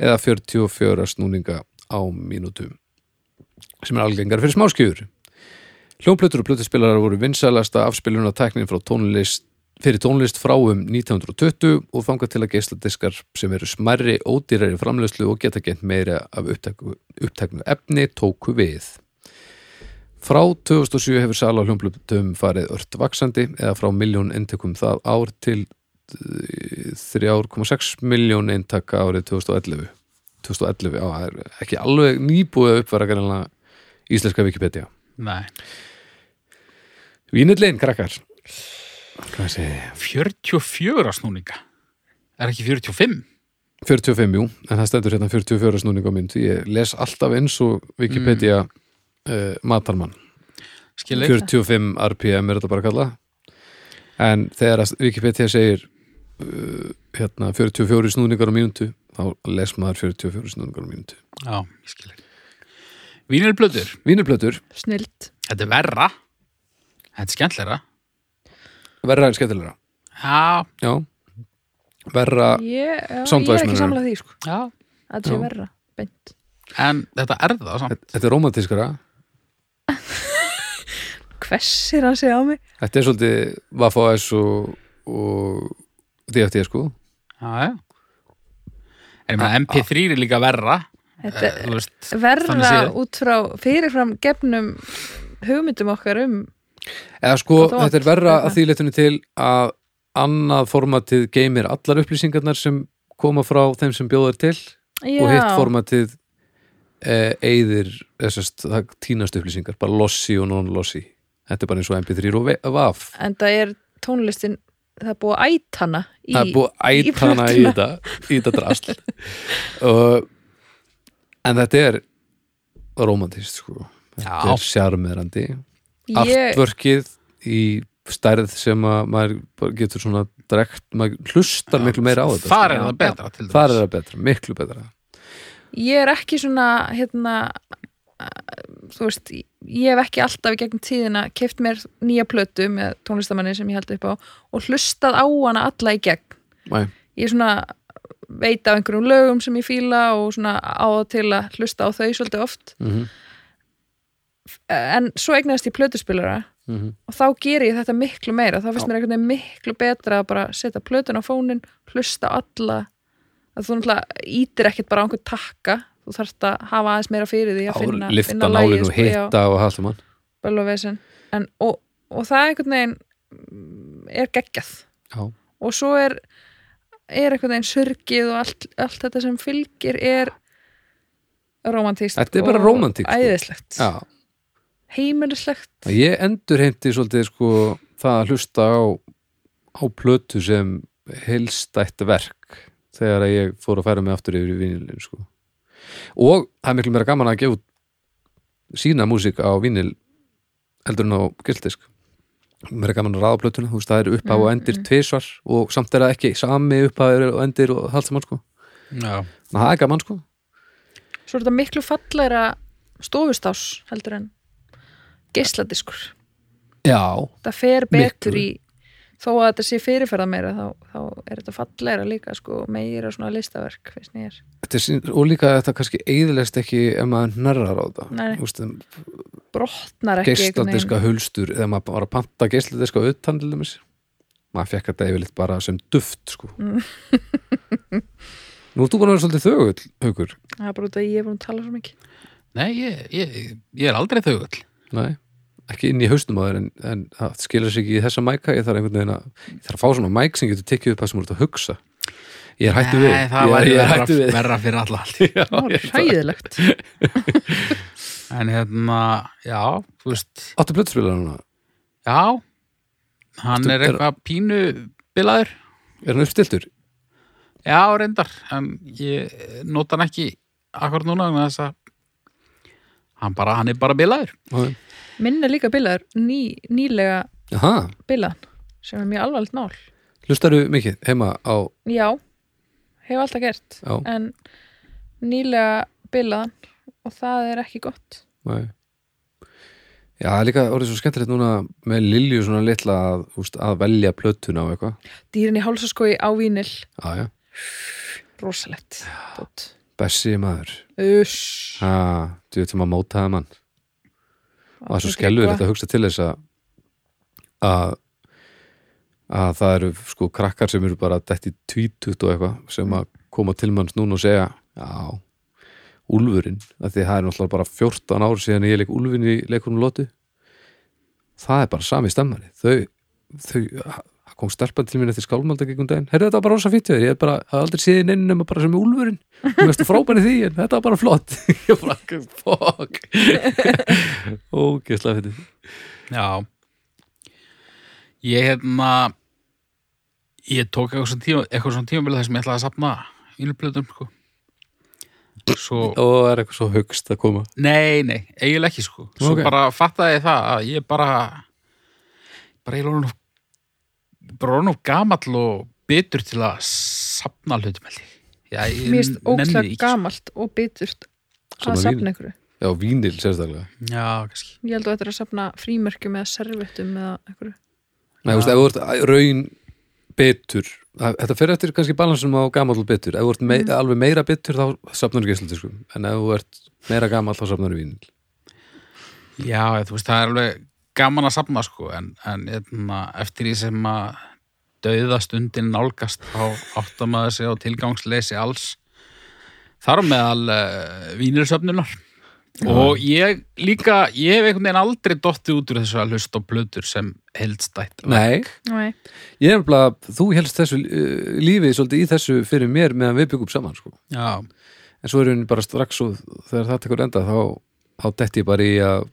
B: eða 44 snúninga á mínútu sem er algengar fyrir smáskjur. Hljómplötur og plötuspilarar voru vinsalasta afspilunartæknin frá tónlist fyrir tónlist frá um 1920 og þangað til að geisladiskar sem eru smærri ódýrari framleyslu og geta gent meira af upptæku, upptæknu efni tóku við. Frá 2007 hefur sala á hljómblutum farið ört vaksandi eða frá miljón eintökum það ár til eh, 3,6 miljón eintaka árið 2011. 2011, já, það er ekki alveg nýbúið að uppfæra kannan íslenska Wikipedia.
A: Nei,
B: Vínillin, krakkar Hvað segi ég?
A: 44 snúninga Er ekki 45?
B: 45, jú, en það stendur hérna 44 snúning á mynd, ég les alltaf eins og Wikipedia uh, matarmann,
A: Skil ekki?
B: 45 RPM er þetta bara að kalla en þegar að Wikipedia segir uh, hérna 44 snúningar á mínútu þá les maður 44 snúningar á mínútu
A: Já, ég skil ekki Vínilblöður,
B: Vínurblötur,
C: Snilt
A: þetta er verra Þetta er skemmtlegra
B: verra er skemmtilegra
A: Já,
B: Já, verra
C: Ég, já, ég er
B: Soundwise
C: ekki
B: munurinn.
C: samlega því sko
A: já
C: Þetta sé
B: Já.
C: verra, beint
A: En þetta er það samt
B: Þetta er romantískara
C: Hvessir hann sig á mig
B: Þetta er svolítið Vaffa S og, og DFT sko
A: Já, já En ég meina,
B: Ah,
A: MP3 er líka verra
C: Þetta
A: Eh, Þú veist, þannig
C: verra
A: séð.
C: út frá fyrirfram gefnum hugmyndum okkar um
B: Eða sko,
C: Hvað þú
B: þetta er
C: átt,
B: verra
C: hérna?
B: að því leitinu til að annað formatið geymir allar upplýsingarnar sem koma frá þeim sem bjóðar til
C: Já,
B: og hitt formatið e, eyðir þessast, það tínast upplýsingar, bara lossi og non-lossi Þetta er bara eins og MP3 og ve- VAF
C: en það er tónlistin það er búið að æt hana í,
B: Það er búið að
C: í
B: æta hana í
C: plötuna.
B: þetta í þetta drasl
C: (laughs)
B: og, En þetta er romantist sko Þetta
A: Já.
B: er sjarmerandi
C: Ég-
B: Artvörkið í stærð sem að maður bara getur svona drekt, maður hlustar miklu meira á þetta
A: Þar er
B: sko.
A: það betra til
B: Þar er
A: dæmis.
B: það betra, miklu betra
C: ég er ekki svona hérna að, þú veist, ég hef ekki alltaf í gegnum tíðina keft mér nýja plötu með tónlistamanni sem ég held upp á og hlustað á hana alla í gegn
B: Æ,
C: ég svona veit af einhverjum lögum sem ég fíla og svona á það til að hlusta á þau svolítið oft
B: Mhm.
C: en svo eignast ég plötuspilara
B: Mhm.
C: og þá ger ég þetta miklu meira þá finnst mér einhvern veginn miklu betra að bara setja plötun á fónin, hlusta á alla að þú náttúrulega ítir ekkert bara á einhvern takka, þú þarft að hafa aðeins meira fyrir því að finna,
B: Á- Lyfta
C: finna lagið,
B: nálinu og
C: sko, já.
B: hitta og hallum hann
C: Böll og vesen en, og, og það einhvern veginn mm, er geggjað
B: Já.
C: og svo er, er einhvern veginn sörgið og allt, allt þetta sem fylgir er romantíst
B: Þetta er bara
C: og
B: rómantískt, sko.
C: æðislegt,
B: Já,
C: heimilislegt
B: og ég endur heimti svolítið sko það að hlusta á á plötu sem heilstætt verk þegar að ég fór að færa mig aftur yfir í vinilin sko. og það er miklu meira gaman að gefa út sína músík á vinil heldur en á gildisk meira gaman að ráða plötuna, þú veist það eru upphaf og endir tvisvar og samt er það ekki sami upphaf og endir og allt saman sko
A: Já,
B: Ná, það er gaman sko
C: svo er þetta miklu fallegra stofustás heldur en geisladiskur
B: Já,
C: það fer betur
B: Miklu.
C: í þó að þetta sé fyrirferða meira þá, þá er þetta fallegra líka sko, meira svona listaverk finnst mér
B: þetta er, sín- og líka þetta kannski eigðilegst ekki ef maður nærrar á þetta
C: Nei.
B: Þú veist,
C: brotnar ekki einhvern veginn.
B: geisladiska hulstur eða maður var að panta geisladiska utan til dæmis maður fekk þetta yfirleitt bara sem duft sko
C: Mm. (laughs)
B: nú ert þú búin að vera svolítið þögull haukur,
C: það er bara út af að ég er búin að tala svo mikið
A: nei, ég, ég, ég er aldrei þau öll
B: nei ekki inn í haustum á þér en, en það skilur sig ekki í þessa mæka, ég þarf einhvern veginn að ég þarf að fá svona mæk sem getur tekið upp það sem þú ert að hugsa ég er hættu við
A: Nei, það
B: ég,
A: var
B: er- ég er
A: verra,
B: hættu við
A: verra fyrir alla allt
B: (laughs) Já,
C: það
B: ég
C: var
B: er það.
C: hræðilegt
A: En hérna, já, þú veist
B: áttu plötspilar núna,
A: Já, hann
B: Veistu,
A: er
B: er-
A: eitthvað pínu bilaður
B: er hann uppstiltur?
A: Já, reyndar, en ég nota hann ekki akkur núna vegna þess að hann, bara, hann er bara bilaður
B: Nei.
C: minn er líka bilaður, ný, nýlega
B: Aha,
C: bilaðan sem er mjög alvarlegt mál
B: hlustaru mikið heima á,
C: já, hef alltaf gert
B: á
C: en nýlega bilaðan og það er ekki gott
B: Nei. Já, það er líka orðið svo skemmtilegt núna með Lilju svona litla að, úst, að velja plötuna og eitthvað.
C: dýrin í hálsaskói á vínil
B: Já, já.
C: rosalegt dót.
B: Bessi maður.
C: uss
B: Ha, þú veitum að mótaða mann. Og það er svo skellur þetta að hugsa til þess að að að það eru sko krakkar sem eru bara dætt í tvítut og eitthvað sem að koma til manns núna og segja já, úlfurinn af því það er náttúrulega bara 14 ár síðan ég leik úlfinn í leikunum lotu það er bara sami stemmari þau, þau það kom stelpan til mín eftir skálmalda gegn daginn herri þetta var bara rosa fínt hjá þér, ég er bara hafði aldrei séð inn nema bara sem úlfurinn þú veist frábæri því en þetta var bara flott (laughs) ég bara, fuck ógeðslega fyrir
A: Já Ég hérna ég tók eitthvað svona tíma eitthvað svona tíma þar sem ég ætlaði að safna vinilplötum sko Svo,
B: og það er eitthvað svo högst að koma
A: nei, nei, eiginlega ekki sko Svo
B: Ok.
A: bara fattaði ég það að ég bara bara ég lóðum bara lóðum gamall og bitur til að safna hlutum held ég. Já, ég
C: Mér finnst
A: nenni því
C: ókslega
A: ekki, sko.
C: gamalt og biturt
B: Safna
C: að
B: vínil.
C: safna einhverju.
B: já, vínil sérstaklega
A: Já, kannski
C: Ég held að þetta er að safna frímörkjum eða servettum eða einhverju.
B: Nei, þú veist, ef þú ert raun betur, það- þetta fer eftir kannski balansum á gamall og betur, ef þú ert mei, alveg meira betur þá safnar geislundiskum en ef þú ert meira gamall þá safnar vínil
A: Já, þú veist, það er alveg gaman að safna sko, en, en eitna, eftir því sem að dauðastundin nálgast þá áttar maður sig á tilgangsleysi alls þar á meðal uh, vínilsöfnunar og ég líka, ég hef einhvern veginn aldrei dottið út úr þessu að hlusta á plötur sem heldstætt
B: Nei,
C: Nei.
B: ég er nefnilega þú helst þessu uh, lífið svolítið í þessu fyrir mér meðan við byggum saman sko.
A: Já,
B: en svo erum við bara strax og þegar það tekur enda þá, þá detti ég bara í að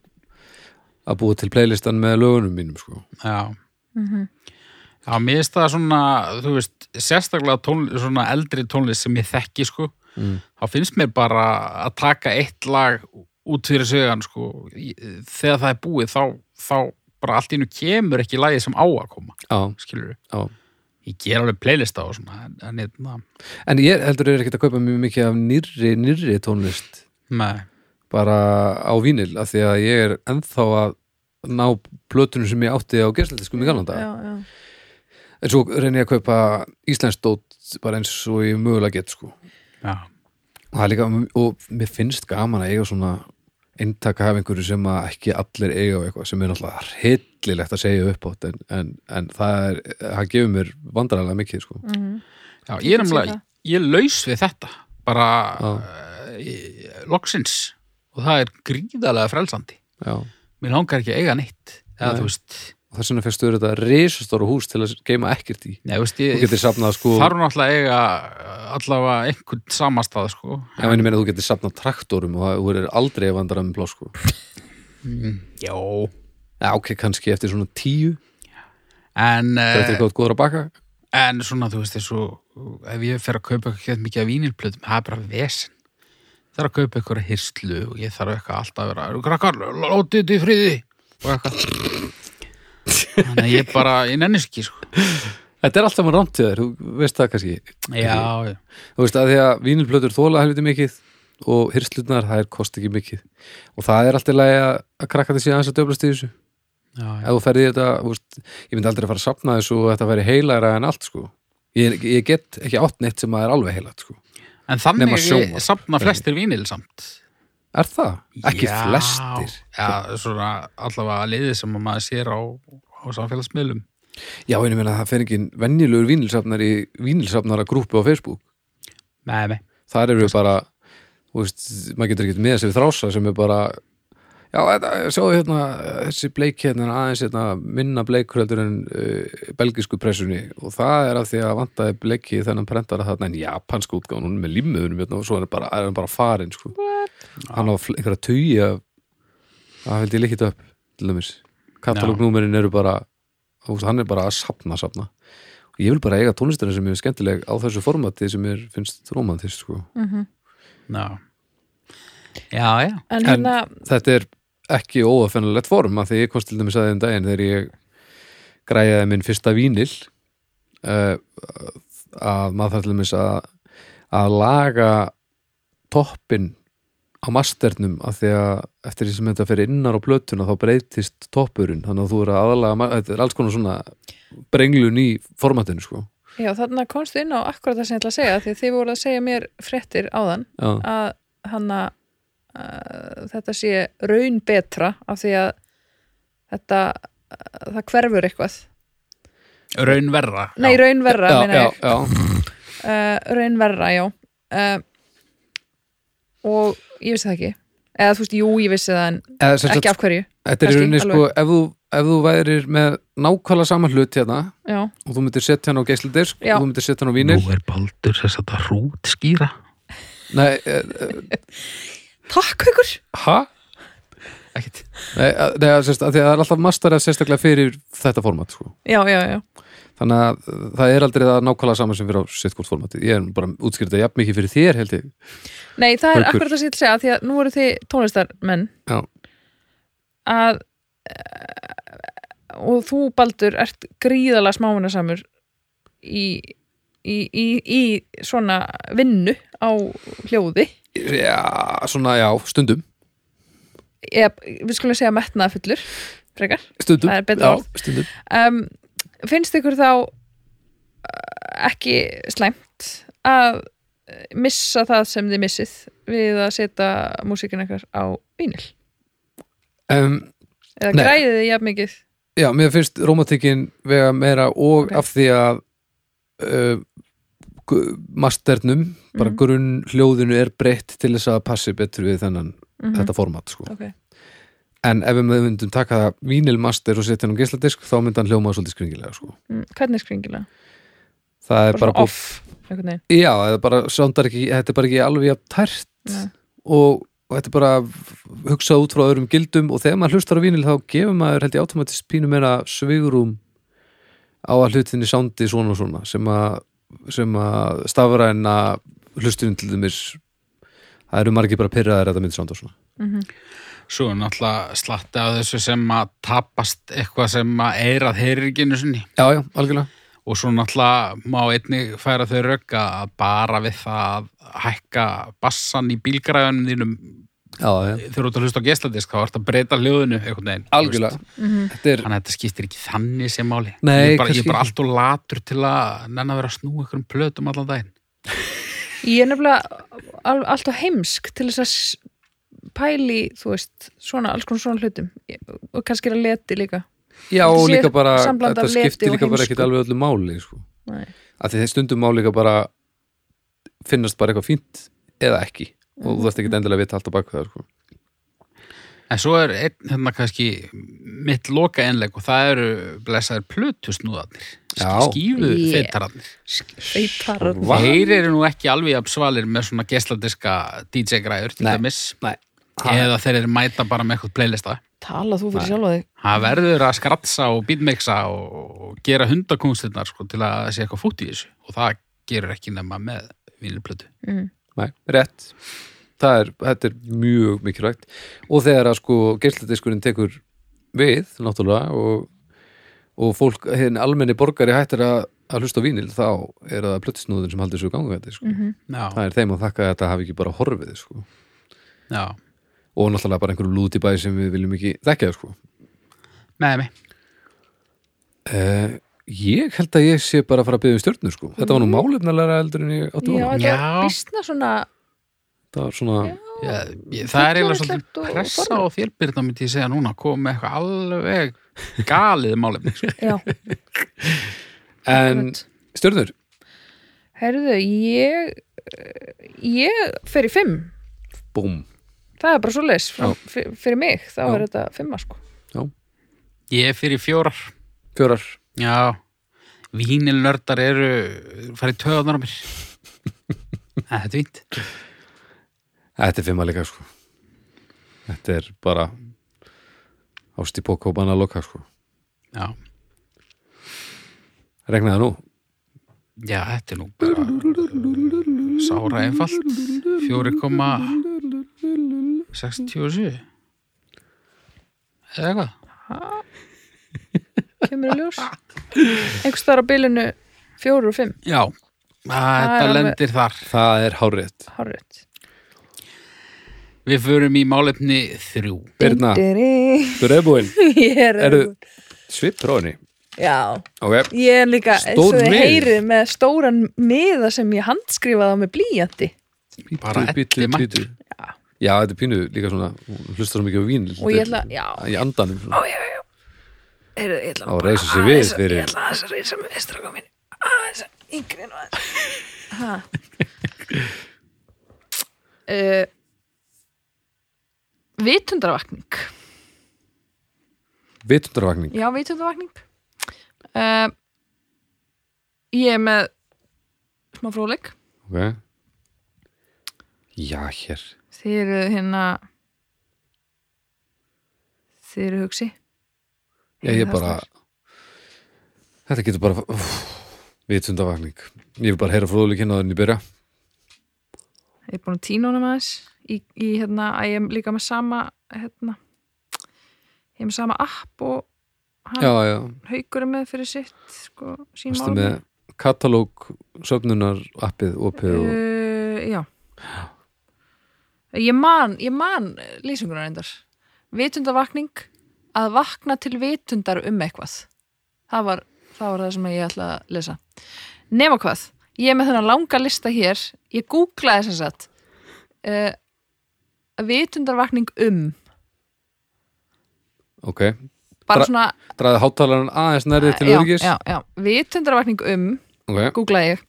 B: að búa til playlistan með lögunum mínum sko.
A: já
C: Mhm.
A: Já, mér finnst það svona, þú veist, sérstaklega tón, svona eldri tónlist sem ég þekki, sko.
B: Mm.
A: Þá finnst mér bara að taka eitt lag út fyrir sögan, sko. Ég- Þegar það er búið, þá, þá bara allt í nú kemur ekki lagið sem á að koma,
B: á,
A: skilur við.
B: á.
A: Ég ger alveg playlista og svona, en- en hérna,
B: en ég heldur er ekkert að kaupa mjög mikið af nýrri, nýrri tónlist
A: nei,
B: bara á vínil af því að ég er ennþá að ná plötunum sem ég átti á gerslaldiskum í galanda
C: Já, já.
B: en svo reyni ég að kaupa Íslands dót bara eins og ég mögulega get sko. og,
A: já,
B: það er líka, og mér finnst gaman að eiga svona eintaka af einhverju sem að ekki allir eiga og eitthvað sem er náttúrulega hryllilegt að segja upp átt en, en, en það er, það gefur mér vandrarlega mikið sko.
C: mhm.
A: já, ég er
C: Ég get séð
A: nefnilega,
C: það.
A: ég er laus við þetta, bara
B: Já.
A: uh, ég- loksins, og það er gríðarlega frelsandi.
B: Já. og
A: mér langar ekki að eiga neitt eða
B: Nei.
A: þú veist,
B: þess vegna fyrstu þetta risastóra hús til að geima ekkert í
A: neða, veist
B: þú
A: ég
B: getur safnað sko
A: þarf náttúrulega að eiga uh, allavega einhvern samastað sko.
B: Já, en ég meina að þú getur safnað traktorum og það- þú er aldrei að vandra með blá sko.
A: Jó
B: Já, ok, kannski eftir svona tíu
A: en,
B: Það eftir hvað
A: uh,
B: þú ert góður að baka
A: en svona, þú veist, þessu ef ég fer að kaupa eitthvað mikið af vínilplötum það er bara vesen Ég þarf að kaupa eitthvað hirslu og ég þarf eitthvað alltaf að vera "Eru krakkar, látið þetta í friði og eitthvað þannig að ég bara, ég nennis ekki sko.
B: Þetta er alltaf mann rámt til þér, þú veist það kannski
A: já, já,
B: Þú veist að því að vínilplötur þóla helviti mikið og hirslutnar, það er kost ekki mikið og það er alltaf lægi að að krakka þessi aðeins að döflast í þessu
A: já, já.
B: ef þú ferði þetta, þú veist, ég myndi aldrei að fara að safna þessu og þetta væri heilæra en allt sko Ég, ég get ekki átt neitt sem að er alveg heilat sko.
A: en
B: Nema
A: þannig
B: sjónvarp.
A: safna flestir vínil samt
B: Er það? Ekki
A: Já.
B: flestir
A: Já, svona allavega liðið sem að maður sér á, á samfélagsmiðlum
B: Já, en ég meina að það fer engin venjulegur vínilsafnar í vínilsafnara grúpu á Facebook
A: Nei, nei
B: þar eru við bara þú veist, maður getur ekkert með þessi við þrása sem er bara já, þetta, sjáðu hérna þessi bleik hérna er aðeins hérna, minna bleikröldur en uh, belgisku pressunni og það er af því að vantaði bleiki þennan prentara þarna en japansku útgáðan hún er með limmuðunum hérna, og svo er hann bara, er hann bara farin sko. hann á fl- einhverja tugi af það held ég líkit upp til dæmis katalógnúmerin eru bara þú veist, hann er bara að sapna sapna og ég vil bara eiga tónlistina sem er skemmtileg á þessu formati sem er finnst romantist sko.
C: Mhm.
A: Já, já, já,
C: En
B: En-
C: hérna,
B: þetta er ekki óafennalegt form að því ég komst til dæmis aðeins daginn þegar ég græjaði minn fyrsta vínil uh, að maður þarf til dæmis að, að laga toppin á masternum að því að eftir því sem þetta fer innar á plötuna þá breytist toppurinn þannig að þú er að aðlaga, ma- þetta er alls konar svona brenglun í formatinu sko
C: já, þarna komstu inn á akkurat það sem ég ætla að segja því að þið voru að segja mér fréttir áðan
B: Já,
C: að hanna að þetta sé raun betra af því að þetta, að það hverfur eitthvað
A: raunverra
C: nei,
A: já.
C: raunverra
B: já,
C: meina
B: já,
C: ég
B: já,
C: uh, raunverra, já uh, og ég vissi það ekki eða þú veist, jú, ég vissi það en
B: Eða, sem sagt,
C: ekki af hverju
B: þetta er í
C: kannski,
B: rauninni sko ef þú, ef þú værir með nákvæmlega saman hlut hérna
C: já,
B: og þú myndir setja hann á geisladisk
C: Já.
B: og þú myndir setja hann á
A: Nú
B: vínil
A: er Baldur þess að það hrút skýra
B: Nei, eh, eh,
C: takk ykkur
B: ha?
A: Ekkert
B: Nei, eh, nei að sérst, að því að það er alltaf mastarað sérstaklega fyrir þetta format sko.
C: já, já, já,
B: þannig að eh, það er aldrei það nákvæmlega saman sem fyrir á sitt hvort formatið ég er nú bara útskýrta jafn mikið fyrir þér held ég
C: nei, það er
B: Haukur.
C: akkurat það sem ég ætla að segja því að nú eru þið tónlistarmenn
B: Já.
C: að uh, og þú, Baldur, ert gríðalega smáunasamur í, í, í, í svona vinnu á hljóði
B: Já, svona, já, stundum
C: eða við skulum segja metnaðfullur frekar
B: Stundum,
C: Það er betra
B: já,
C: orð.
B: stundum
C: um, finnst ykkur þá uh, ekki slæmt að uh, missa það sem þið missið við að setja músíkinn ykkar á vínil
B: um,
C: eða
B: Nei.
C: græðið þið jafn mikið
B: Já, mér finnst romantikin vega meira og
C: Ok.
B: af því að uh, gu- masternum, bara
C: Mhm.
B: grunn hljóðinu er breytt til þess að passi betur við þennan,
C: mm
B: þetta format sko.
C: okay.
B: en ef við myndum taka það vínilmaster og setja hann á geisladisk þá myndi hann hljóma svolítið skringilega sko.
C: mm, hvernig skringilega?
B: það er
C: bara
B: bara, bara
C: svona off einhvern veginn
B: já, það er bara, soundar ekki, þetta er bara ekki alveg jafn tært
C: Nei.
B: og, og þetta er bara hugsað út frá öðrum gildum og þegar maður hlustar á vínil þá gefur maður held ég automatist pínu meira svigurum á að hlutinni soundi svona og svona sem að, sem að stafræna hlustunum til dæmis það eru margir bara pyrraðar að þetta myndi sounda svona
A: Svo er náttúrulega slatti af þessu sem að tapast eitthvað sem að eirað heyrir ekki einu sinni
B: já, já, algjörlega
A: og svo náttúrulega má einnig færa þau rök að bara við það að hækka bassan í bílgræðunum þínum
B: já, já.
A: þegar þú ert að hlusta á gesladisk þá ert að breyta hljóðinu einhvern veginn
B: algjörlega,
A: þú veist.
B: þetta er
A: þannig að þetta skiptir ekki þannig sem máli
B: Nei,
A: ég, er bara, ég
B: kannski
A: er bara
B: ekki.
A: allt og latur til að nenn að vera að snúa einhverjum plötum allan daginn
C: ég er nefnilega al, allt á heimsk til þess að s- pæli, þú veist, svona alls konar svona hlutum Ég- og kannski er að leti líka
B: Já,
C: Þetta
B: og
C: sé
B: líka bara,
C: sambland
B: þetta
C: af leti
B: skiptir
C: og
B: líka bara
C: heimsku.
B: ekkert alveg öllu máli, sko.
C: Nei.
B: Af því þeir stundum má líka bara finnast bara eitthvað fínt eða ekki.
C: Mhm.
B: Og þú þarft ekkert endilega að vita allt á baku það, sko.
A: en svo er einn hérna kannski mitt loka einleg og það eru blessaðir plötusnúðarnir
B: Já.
A: skífu
C: Yeah.
A: yeah. feitararnir
C: Sveitar
B: Vá.
A: þeir eru nú ekki alveg apsvalir með svona gesladiska DJ græður til
B: Nei.
A: dæmis
B: Nei.
A: eða þeir eru mæta bara með eitthvað playlista
C: Tala þú fyrir sjálfa þig
A: það verður að skratsa og beatmixa og og gera hundakúnstinnar sko, til að það sé eitthvað fótt í þessu og það gerur ekki nema með vinilplötu
C: mm.
B: Nei, rétt. Það er, þetta er mjög mikilvægt. Og þegar að sko geisladiskurinn tekur við, náttúrulega, og, og fólk, hinn almenni borgari hættir að, að hlusta á vínil, þá er það plöttisnúðin sem haldur svo ganga þetta, sko.
C: Mhm.
A: já,
B: Það er þeim að þakka að þetta hafi ekki bara horfið, sko.
A: já,
B: og náttúrulega bara einhverjum lútibæ sem við viljum ekki þekkja sko.
A: með mig
B: uh, ég held að ég sé bara að fara að byggja um stjörnur sko. þetta var nú málefnilega eldur en ég átti
C: Já,
B: vona
C: þetta er
A: Já.
C: býstna svona
B: það var svona,
A: Já, ég, það er eiginlega
C: Fullorðinslegt og-
A: svolítið
C: og
A: pressa
C: forlegt.
A: á þér Birna myndi ég segja núna, kom með eitthvað alveg galið málefni sko.
C: Já,
B: en stjörnur
C: herðu, ég ég fer í fimm
B: búm,
C: það er bara svo leis
B: Já.
C: fyrir mig, þá
B: Já.
C: er þetta fimma sko
A: (laughs) ég er fyrir fjórar
B: fjórar
A: já, vínilnördar eru farið töðanar á mér (laughs) Æ, þetta er fínt
B: þetta er fimm að leika sko. þetta er bara ást í bóka og banna að loka sko.
A: já,
B: regnaði nú
A: já, þetta er nú bara uh, sára einfalt 4,67 eða eitthvað
C: kemur í ljós einhvers þar á bilinu fjóru og fimm,
A: já, að, þetta
C: alveg-
A: lendir þar
B: það er hárétt
C: horrið
A: við förum í málefni þrjú
B: Birna,
C: ég
B: þú er búinn
C: er
B: Eru- svip róni
C: já,
B: ok,
C: ég er líka
B: Stór
C: svo þið
B: miði.
C: heyrið með stóran miða sem ég handskrifaði á með blíjandi
A: Bara
B: bíddu,
A: elli
B: bíddu. já, þetta er pínu líka svona hún hlustar svo mikið á vín
C: og ég ætla, já,
B: í andanum svona.
C: heyrðu, ég
B: Á,
C: ætla nú bara
B: reisa sig
C: aðeins
B: við
C: að-
B: fyrir-
C: Ég ætla aðeins að reysa mig við stráka mín aðeins að yngri nú aðeins (laughs) Ha. uh, Vitundarvakning
B: vitundarvakning
C: Já, vitundarvakning uh, Ég er með smá fróðleik
B: okay. já hér
C: Þið eru hérna Þið eru hugsi
B: já, ég
C: Heyrðu það
B: bara
C: strax.
B: þetta getur bara uff, vitundarvakning ég vil bara heyra fróðuleik hérna þannig í byrja
C: Ég er búin að tína honum aðeins í, í hérna að ég er líka með sama hérna ég er með sama app og hann
B: já já,
C: haukur er með fyrir sitt sko, sín
B: varstu með katalóg söfnunar appið opið og
C: uh, Já Ég man, ég man lýsinguna reyndar Vitundarvakning að vakna til vitundar um eitthvað það var, það var það sem ég ætla að lesa Nema hvað, ég er með þennan langa lista hér ég googlaði þess að uh, vitundarvakning um
B: ok,
C: bara
B: Dra-
C: svona
B: draðið hátalarinn aðeins nærðið til
C: já,
B: öryggis
C: já, já, vitundarvakning um
B: ok,
C: googlaði ég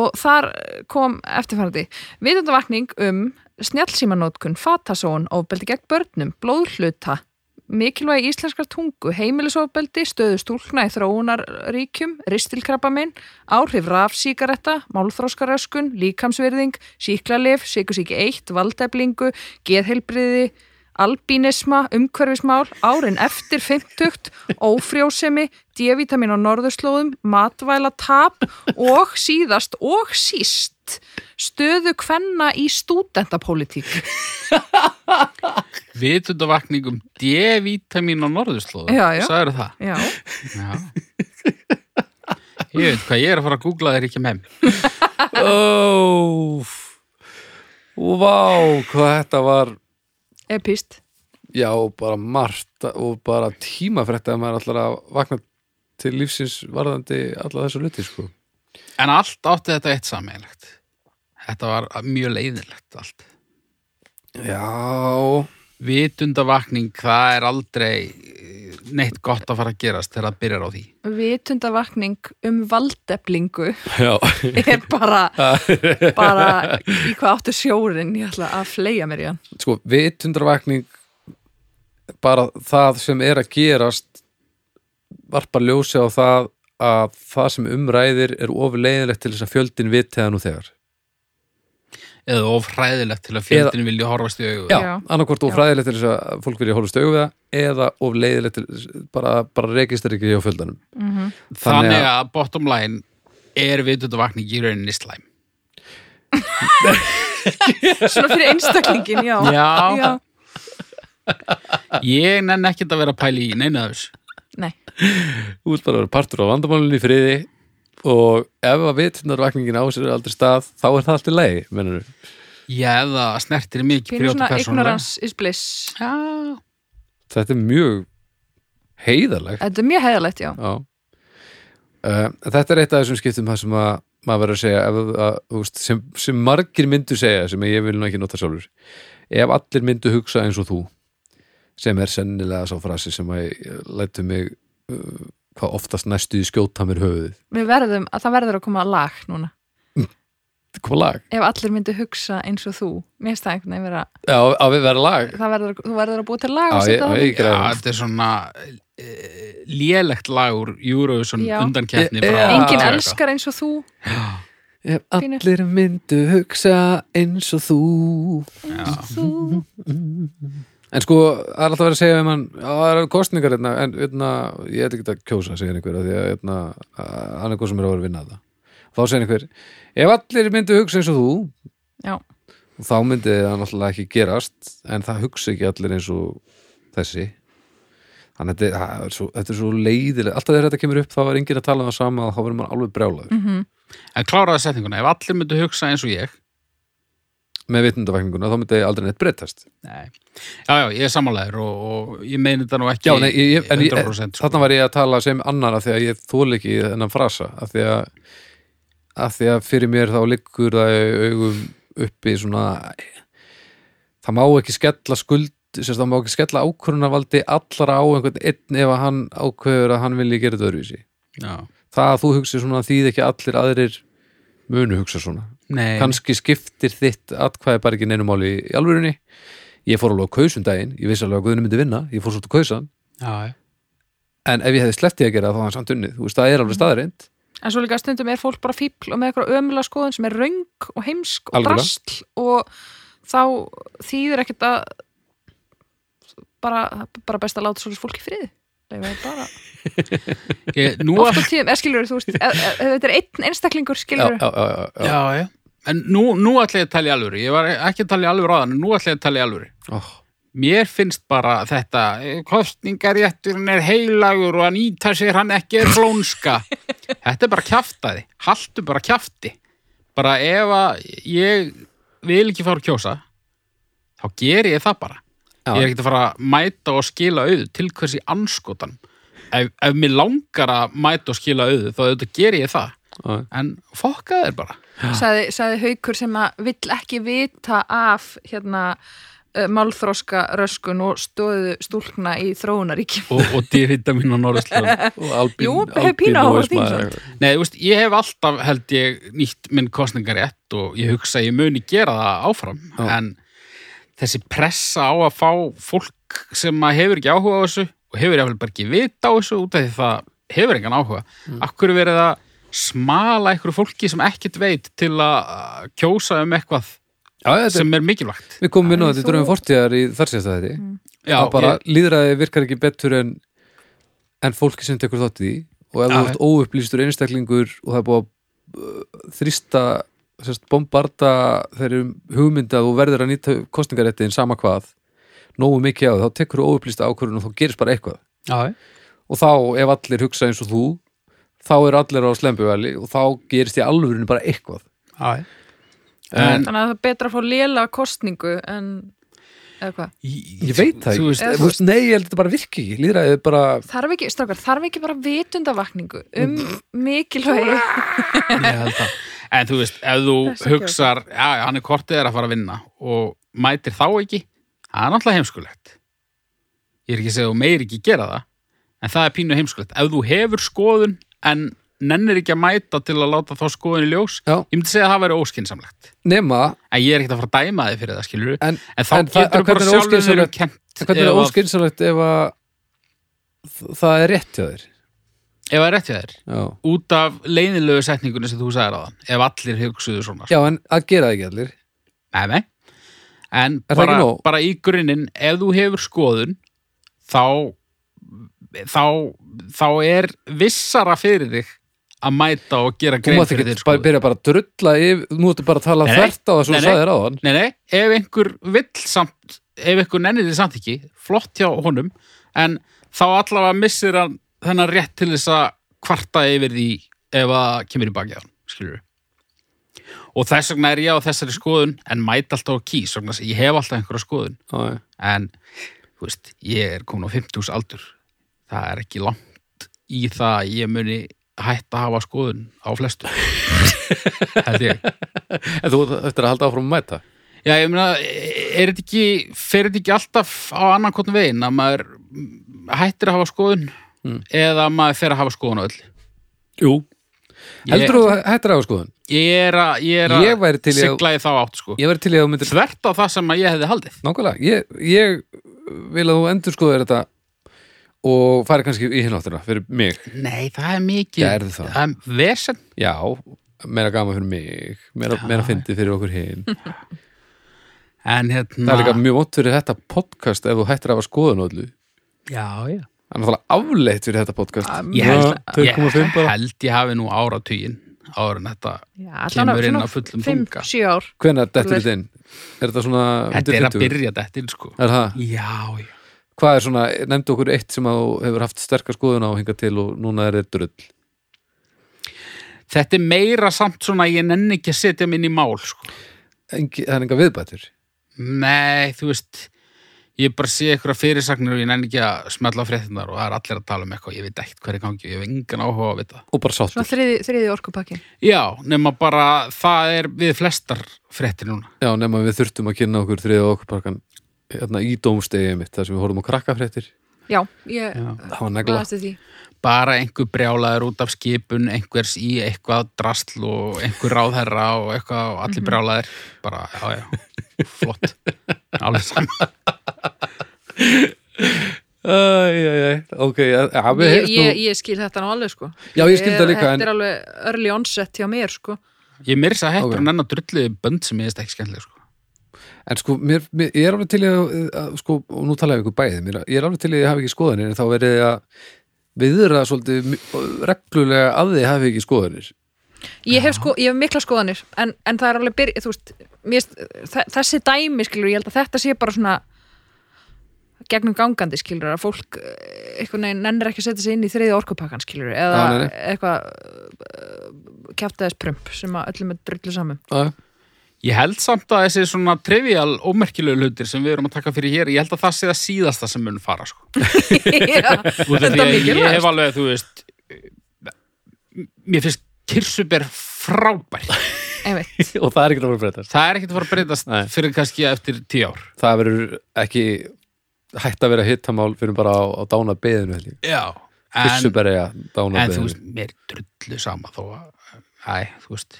C: og þar eh, kom eftirfarandi vitundarvakning um snjallsímanótkun, fatasón, ofbeldi gegn börnum, blóðhluta mikilvægi íslenskar tungu, heimilisofbeldi stöðustúlkna í þróunarríkjum ristilkrabbamein, áhrif rafsíkaretta, málþróskaröskun líkamsverðing, síklarlif, síkusíki 1 valdeflingu, geðheilbriði albínisma, umhverfismál, árin eftir 50, ófrjósemi, D-vitamin á norðurslóðum, matvæla tap og síðast og síst stöðu kvenna í stúdentapólitík.
A: Vitundavakning um D-vitamin á norðurslóðu.
C: Já, já.
A: Sagðirðu það?
C: Já,
A: Já. Ég veit hvað, ég er að fara að googla þér ekki með.
B: óf vá, hvað þetta var
C: epist.
B: já, bara margt og bara tímafrætt að maður ætlar að vakna til lífsins varðandi alla þessu luti sko
A: En allt átti þetta eitt sammeilegt. Þetta var mjög leiðilegt allt.
B: já,
A: Vitundavakning, það er aldrei eh, neitt gott að fara að gerast þegar það byrjar á því.
C: Vitundavakning um
B: (laughs)
C: valdeflingu
B: já
C: er bara, bara í hvað áttu sjórin, ég ætla að fleia mér í hann.
B: sko, vitundarvakning bara það sem er að gerast varpar ljósi á það að það sem umræðir er ofur leiðilegt til þess að fjöldin viti það nú þegar
A: Eða of hræðilegt til að fjöldin vilja horfast í augu.
B: já,
C: Já.
B: annarkvort of
C: Já.
B: fræðilegt til þess að fólk vilja horfast auðvitað eða of leiðilegt til þess- bara, bara rekistar ekki hjá fjöldanum
A: Þannig,
B: Þannig
A: að bottom line er vitundavakning í rauninni slæm.
C: Svona fyrir einstaklingin, já.
A: Já.
C: já.
A: Ég nenn ekkert að vera að pæli í neina þess.
C: Nei,
B: þú ert bara að vera partur á vandamálunni í friði og ef að vitundarvakningin á sér aldrei stað þá er það allt í lagi, mennur
A: Já, eða snertir mikið
C: pínu
A: grjóta
C: svona
A: persónulega.
C: ignorance is bliss.
A: Já,
B: þetta er mjög heiðalegt
C: Þetta er mjög heðalegt, já.
B: Já. Uh, þetta er eitt af þessum skiptum það sem að maður verður að segja ef, að, að, þú veist, sem, sem margir myndu segja sem ég vil nú ekki nota sjálfur ef allir myndu hugsa eins og þú sem er sennilega sá frasi sem að lætu mig uh, hvað oftast næstu í skjóta mér höfuðið
C: Við verðum, að það verður að koma lag núna.
B: hvað lag?
C: Ef allir myndu hugsa eins og þú, mér finnst það einhvern veginn vera,
B: Já, að við verðum lag
C: það verður, þú verður að búa til lag
B: Já,
C: og
B: ég-
C: setja
B: já,
C: það
B: ég-
C: í.
A: já
B: Græðan.
A: þetta er svona uh, lélegt lag úr Eurovision
C: Já.
A: undankeppni
B: E-
A: frá
B: já.
C: Engin
B: Já.
A: 80 eitthvað.
C: elskar eins og þú.
B: ef
C: Pínu.
B: allir myndu hugsa eins og þú
C: þú.
B: en sko, það er alltaf verið að segja ef mann, "Já, það eru kostningar hérna, en hérna, ég ætla ekki að kjósa segir einhver, af því að hérna, að- hann er hvað sem er að vera að vinna það þá segir einhver, ef allir myndu hugsa eins og þú
C: Já,
B: þá myndi það náttúrulega ekki gerast en það hugsa ekki allir eins og þessi þannig að þetta, það er svo, þetta er svo leiðileg alltaf þegar þetta kemur upp, þá var enginn að tala um það sama þá verður maður alveg brjálaður
A: En kláraði setninguna, ef allir myndu hugsa eins og ég
B: með vitundavakninguna, þá myndi aldrei neitt breytast
A: Nei. Já, já, ég er sammálaður og, og ég meini þetta nú ekki
B: Já, nei, ég, ég, en ég,
A: 100% sko.
B: þarna var ég að tala sem annar af því að ég þól ekki þennan frasa af því að, af því að fyrir mér þá liggur það í augum uppi svona það má ekki skella skuld sérst það má ekki skella ákvörunarvaldi allra á einhvern einn ef að hann ákveður að hann vilji gera þetta öðruvísi
A: já.
B: það að þú hugsið svona þýð ekki að allir aðrir munu hugsa svona
A: Nei,
B: kannski skiptir þitt atkvæði bara ekki neinu máli í alvörunni ég fór alveg að kausa um daginn, ég vissi alveg að Guðni myndi vinna ég fór svolítið að kausa hann,
A: já, já.
B: en ef ég hefði slepptið að gera það, þá var hann samt unnið, þú veist, það er alveg staðarind
C: En svo líka stundum er fólk bara fíbl og með eitthvað ömulega skoðun sem er röng og heimsk og
B: Algjörlega.
C: drastl og þá þýðir ekkert að bara, bara best að láta svolítið fólki friði. Leifa því bara,
A: Ég, nú
C: oft
A: að,
C: og tíðum, eða skilur þú veist, ef- ef ef þetta er einn einstaklingur
B: já,
C: skilur
B: já, já, já, já.
A: já, já. En nú, nú ætla ég að tala í alvöru. Ég var ekki að tala í alvöru áðan, en nú ætla ég að tala í alvöru.
B: Ó,
A: Mér finnst bara þetta, eh, kostningarétturinn er heilagur og að nýta sér hann ekki er (laughs) flónska. þetta er bara kjaftaði. Haltu bara kjafti. Bara ef að ég vil ekki fara að kjósa, þá ger ég það bara.
B: Já.
A: Ég er ekkert að fara að mæta og skila auðu til hversi anskotan. Ef, ef mér langar að mæta og skila auðu, þá auðvitað ger ég það.
B: já.
A: En fokka þér bara.
C: sagði, sagði haukur sem að vill ekki vita af hérna eh, málþroska röskun og stóðu stúlkna í þróunaríkjum.
A: og, og D-vitamin á Norðurslöðum.
B: Og albín,
C: Jú, hefur pínu áhuga á því samt.
A: Nei, þú veist, ég hef alltaf held ég nýtt minn kostningarétt og ég hugsa að ég muni gera það áfram
B: Já.
A: en þessi pressa á að fá fólk sem að hefur ekki áhuga á þessu og hefur jáfnvel bara ekki vita á þessu út af því það hefur engan áhuga
B: Mm.
A: Akkur er verið að smala einhverju fólki sem ekkert veit til að uh, kjósa um eitthvað
B: Já, þetta,
A: sem er mikilvægt
B: við komum inn á þetta í
C: þú-
B: dröfum fortíðar í Mm. þar sést þetta
A: Já,
B: að bara
A: ég,
B: líðræði virkar ekki betur en en fólki sem tekur þátt í því. og ef
A: Já,
B: þú ert óupplýstur einstaklingur og það er búið að uh, þrýsta sérst, bombarda þeirri hugmynda og verður að nýta kostningaréttin sama hvað nógu mikið á því, þá tekur þú óupplýsta ákvörðun og þá gerist bara eitthvað
A: já,
B: og þá ef allir hugsa eins og þú þá eru allir á slembuveli og þá gerist í alvörinu bara eitthvað
A: já. En,
C: Þannig að það er betra að fá lélega kostningu en, eða hvað?
B: ég veit það
A: Þú
B: ekki,
A: veist,
B: Eða þú veist, nei, ég held þetta bara virki ekki líðræðið er bara,
C: þarf ekki, strákar, þarf ekki bara vitundavakningu um
B: Mm.
C: mikilvægi
A: ég held það en þú veist, ef
C: Þessi
A: þú hugsar já, já, hann er kortið er að fara að vinna og mætir þá ekki, það er náttúrulega heimskulegt ég er ekki að segja að þú meir ekki gera það en það er pínu heimskulegt ef þú hefur skoðun en nennir ekki að mæta til að láta þá skoðun í ljós
B: Já.
A: ég myndi segja að það væri óskinsamlegt
B: nema
A: en ég er ekkert að fara að dæma þið fyrir það, skilur
B: en,
A: en þá
B: En það-
A: getur
B: en hvernig
A: bara
B: er
A: sjálfur
B: óskynsamlegt-
A: þeirra kent
B: hvernig er
A: ef
B: það
A: að-
B: óskynsalegt ef að þ- það er rétt hjá þér
A: ef það er rétt hjá þér
B: já.
A: út af leiðinlegu setningunni sem þú sagðir aðan ef allir hugsuðu svona
B: já, en að gera það ekki allir
A: Nei, nei. En
B: Er það
A: bara,
B: ekki nóg?
A: bara í grunninn, ef þú hefur skoðun, þá, þá, þá er vissara fyrir þig að mæta og gera
B: þú
A: grein
B: mátt
A: fyrir
B: ekki
A: þér
B: bara
A: skoðun.
B: byrja bara að drulla yfir nú ertu bara að tala
A: Nei, nei.
B: þvert á það sem
A: Nei,
B: þú
A: nei.
B: sagðir á hann
A: Nei, nei, ef einhver vill samt, ef einhver nennir þig samt ekki, flott hjá honum, en þá allavega missir hann þennan rétt til þess að kvarta yfir því ef að kemur í bakið á hann, skilur Og þess vegna er ég á þessari skoðun, en mæta alltaf á kýs, vegna þess að ég hef alltaf einhverja skoðun.
B: Já,
A: en þú veist, ég er komin á 50 aldur það er ekki langt í það að ég muni hætta að hafa skoðun á flestu
B: (laughs)
A: held ég
B: en þú eftir að halda áfram að mæta
A: já, ég meina, er þetta ekki fer þetta ekki alltaf á annan kvotn veginn að maður hættir að hafa skoðun
B: Hmm.
A: eða maður fer að hafa skoðun á öll
B: jú
A: ég,
B: heldur þú að hættir að hafa skoðun
A: ég er að, ég er að
B: Ég væri til í að-
A: sigla í þá átt sko
B: ég verði til í að þú myndir
A: þvert á það sem að ég hefði haldið
B: Nákvæmlega, ég, ég vil að þú endur skoður þetta og fari kannski í hináttina fyrir mig
A: nei, það er mikið
B: Gerðu það.
A: er vesen
B: Já, meira gaman fyrir mig meira, meira fyndið fyrir okkur hinn
A: Mhm. en hérna
B: Það er líka mjög mótt fyrir þetta podcast ef þú hættir að hafa skoðun á öllu
A: já, já
B: Það er náttúrulega afleitt fyrir þetta podcast
A: Ég held,
B: Já,
A: ég
B: 2,5 bara.
A: held ég hafi nú áratugin ára en þetta Kemur inn á fullum þunga.
C: 5-7 ár
B: Hvenær dettur þetta inn? Er þetta svona
A: Þetta
B: undir
A: er að
B: 50?
A: byrja þetta inn sko
B: Er það?
A: Já, já
B: Hvað er svona, nefndu okkur eitt sem að þú hefur haft sterka skoðun á hingað til og núna er þetta drull
A: Þetta er meira samt svona að ég nenni ekki að setja minn í mál sko
B: Engi, Það er enga viðbætur
A: Nei, þú veist Ég bara sé eitthvað fyrirsagnir og ég nenni ekki að smella á fréttinar og það er allir að tala um eitthvað ég veit ekkert hver er í gangi og ég hef engan áhuga á að vita
B: og bara
C: Svona
B: sáttur
C: þriði, þriði orkupakkin
A: Já, nema bara það er við flestar fréttir núna
B: Já, nema við þurftum að kynna okkur þriða okkur parkan hérna, í dómstegið mitt þar sem við horfum á krakkafréttir
C: já, ég
A: Já.
B: það var negla
C: laðast því
A: bara einhver brjálaður út af skipun einhvers í eitthvað drasl og einhver ráðherra og eitthvað og
C: Mhm.
A: allir brjálaðir bara, já, já, flott alveg saman
B: Æ, æ, æ, ok, já, já, við
C: ég,
B: heyrst nú
C: ég, ég skil þetta nú alveg sko
B: Já, ég skil þetta líka, en-
C: þetta er alveg early onset hjá mér sko
A: ég myrðis að
B: Ok.
A: hekkur en enn að drulliði bönd sem ég veist ekki skemmtileg sko.
B: En sko, mér, mér, ég er alveg til í að, að sko, og nú talaði ykkur bæði, mér, ég er alveg til í að hafa ekki skoðanir, en þá verið þið að viðra svolítið mi- reglulega að þið hafi ekki skoðanir.
C: ég hef, sko, ég hef mikla skoðanir en, en það er alveg byrja, þú veist mér, þe- þessi dæmi skilur, ég held að þetta sé bara svona gegnum gangandi skilur að fólk eh, einhvern veginn nennir ekki að setja sig inn í þriði orkupakkan skilur eða
B: Já, nei, nei.
C: eitthvað uh, kjaftaðis prump sem að öllum er drullu
A: (laughs)
C: saman
B: Að,
A: ég held samt að þessi svona trivial ómerkilegu hlutir sem við erum að taka fyrir hér ég held að það sé það síðasta sem mun fara sko.
C: Já,
A: Út af því
C: þetta er
A: að ég
C: mikilvægt
A: hef alveg, þú veist mér finnst kirsuber frábær
C: einmitt.
B: (laughs) og það er ekki að fara að breytast.
A: það er ekkert að fara að breytast
B: Nei.
A: fyrir kannski eftir tíu ár
B: Það verður ekki hægt að vera hittamál fyrir bara á, á dána beðinu, held ég.
A: já,
B: Þessu bara ég að dána
A: en þú
B: beðinu.
A: veist, mér er drullu sama þó að, æ, þú veist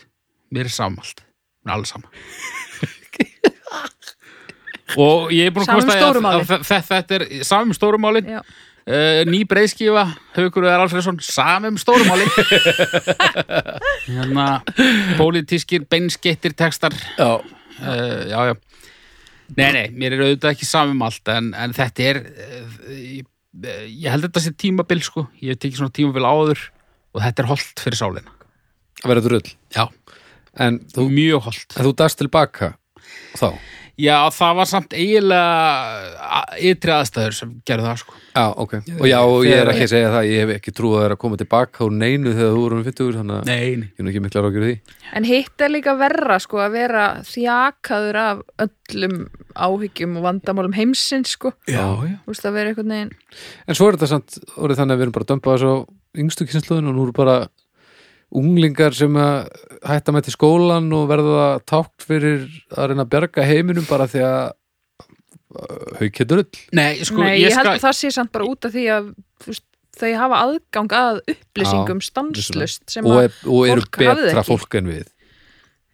A: mér er sama allt, mér er alveg sama og ég er búin að
C: Sama um
A: komast að,
C: stóru
A: að,
C: málin.
A: að þe- þetta er samum stórumálin
C: Já.
A: uh, ný breiðskífa, Haukur Eðar Alfredsson samum (laughs) stórumálin um hérna pólitískir beinskettir textar
B: Já,
A: uh, já, já nei, nei, mér er auðvitað ekki samum allt en, en þetta er uh, ég, eh, ég held þetta sé tímabil sko ég hef tekið svona tímabil áður og þetta er holdt fyrir sálina
B: að vera drull.
A: já,
B: En þú,
A: mjög holdt
B: en þú dast tilbaka þá.
A: já, það var samt eiginlega a- ytri aðstæður sem gerðu það sko
B: Já, ok. Og já, og ég er
A: Þegar-
B: ekki að segja það, ég hef ekki trúið að það er að koma tilbaka úr neinu þegar þú vorum 50, þannig að
A: nei, nei.
B: ég er nú ekki mikla rákjur því.
C: en hitt er líka verra sko að vera þjakaður af öllum áhyggjum og vandamálum heimsins sko
A: já, já
C: þú veist að vera einhvern veginn
B: En svo er þetta samt orðið þannig að við erum bara að dömpa þessu á yngstu kynsluðin og nú eru bara unglingar sem að hætta með til skólan og verða tákt fyrir að reyna að berga heiminum bara því að uh, haukja drull.
A: nei, sko,
C: Nei, ég,
A: ég
C: held
A: skal
C: að það sé samt bara út af því að þú veist, þau hafa aðgang að upplýsingum stanslust sem
B: og,
C: að,
B: er, og eru
C: fólk hafði
B: betra
C: ekki.
B: fólk en við.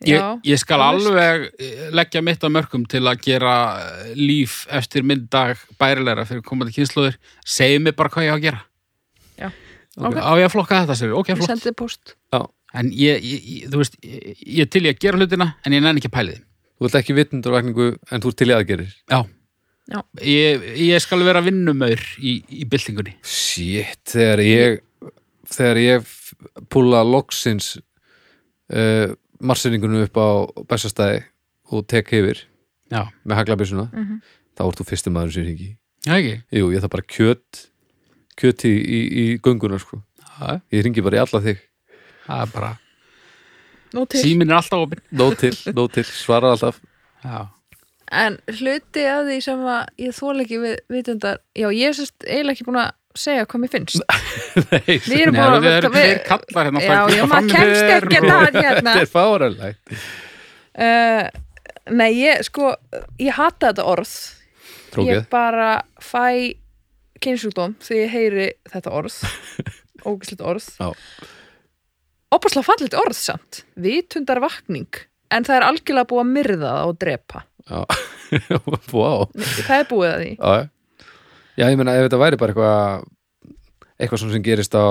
A: ég,
C: já,
A: ég skal
C: þú veist.
A: alveg eh, leggja mitt að mörgum til að gera eh, líf eftir minn dag bærilegra fyrir komandi kynsluður segið mér bara hvað ég á að gera
C: ok,
A: á ég að flokka þetta sér, ok,
C: ég
A: flott
C: sendi post
A: en ég, ég, ég, þú veist, ég, ég er til ég að gera hlutina en ég nenni ekki að pæli þeim
B: Þú vilt ekki vitundurvækningu en þú ert til í aðgerir.
A: já,
C: Já.
A: Ég, ég skal vera vinnumaur í, í byltingunni
B: Shit, þegar ég þegar ég f- púla loksins uh, marsinningunum upp á bestastæði og tek yfir
A: já,
B: með haglabissuna
C: Mhm.
B: þá ert þú fyrsti maður sem hringi
A: já ekki
B: Jú, ég þarf bara kjöt kjöt í, í, í gönguna sko.
A: já,
B: ég hringi bara í alla þig
A: það er bara,
C: Nú til.
A: síminn er alltaf opinn
B: nóg til, (laughs) nóg til, svara alltaf
A: já,
C: en hluti af því sem að ég þól ekki við vitundar já, ég er sérst eiginlega ekki búin að segja hvað mér finnst
B: Nei,
C: við erum búin að
A: það eru
C: við-
A: fleiri kallar hérna
C: já, já, maður kemst ekki að það
B: (laughs)
C: hérna
B: þetta er fáræðlega
C: uh, nei, ég sko ég hata þetta orð
B: trókið,
C: ég bara fæ kynsjúkdóm þegar ég heyri þetta orð ógæslegt orð
B: Já.
C: opaslega fallit orð samt vitundar vakning en það er algjörlega búið að myrða það og drepa
B: já (laughs) wow
C: það er búið að því
B: já, já. já, ég meina ef þetta væri bara eitthvað eitthvað svona sem gerist á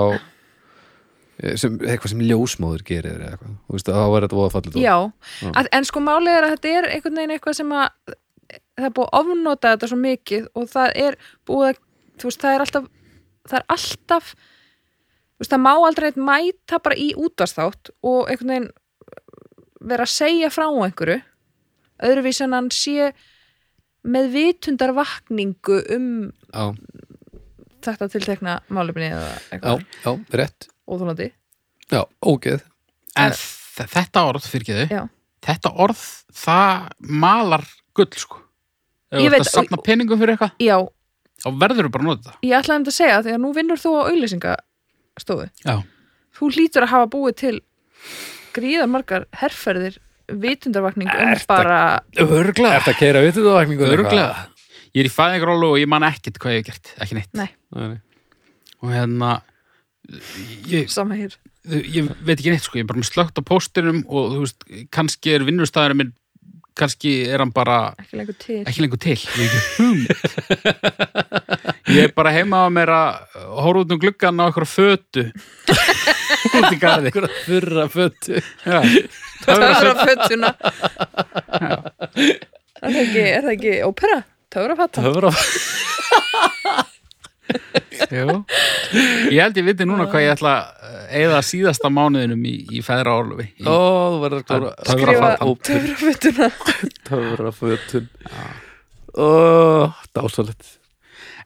B: eh, sem, eitthvað sem ljósmóður gerir eða eitthvað, þú veist, þá væri þetta voða fallið
C: Já,
B: Já.
C: að, en sko málið er að þetta er einhvern veginn eitthvað sem að það er búið að ofnota þetta svo mikið og það er búið að, þú veist, það er alltaf það er alltaf þú veist, það má aldrei eitt mæta bara í útastátt og einhvern veginn vera að segja frá einhverju öðruvísi en hann sé með vitundar vakningu um
B: já,
C: þetta tiltekna málefni eða
B: já,
C: eitthvað
B: já, rétt
C: óþólandi
B: já, ógeð,
A: en þ- þetta orð, fyrir
C: Já.
A: þetta orð, það malar gull sko ef þú
C: Ég
A: ert
C: veit-
A: að safna peningum fyrir eitthvað
C: Já,
A: þá verður þú bara að nota
C: ég ætlaði um þetta að segja því að nú vinnur þú á auðlýsingastofu
A: það já,
C: þú hlýtur að hafa búið til gríðar margar herrferðir vitundarvakning um
B: Ertu-
C: bara
A: örglega
B: þetta keira vitið á
A: Örglega ég er í fæðingrólu og ég man ekkert hvað ég hef gert, ekki neitt
C: Nei.
B: Nei, nei.
A: og hérna ég,
C: sama hér
A: ég veit ekki neitt sko, ég er bara með slögt á póstinum og þú veist, kannski er vinnustæðurinn minn kannski er hann bara
C: ekki lengur til
A: ekki lengur til, ég er ekki hugmynd ég er bara heima á mér að horfa út um gluggan á eitthvað fötu út í garði
B: Einhverja þurra fötu
A: Já.
C: töfra fötuna er það ekki, er það ekki ópera? töfra fatta
B: Töfra
A: Jú. ég held ég viti núna hvað ég ætla að eða síðasta mánuðinum í, í feðra orlufi
B: Ó, þú verður að klára
A: Töfra-
C: skrifa
A: Töfrafatan.
C: töfra fötuna
B: Töfra fötun Ó, dásalett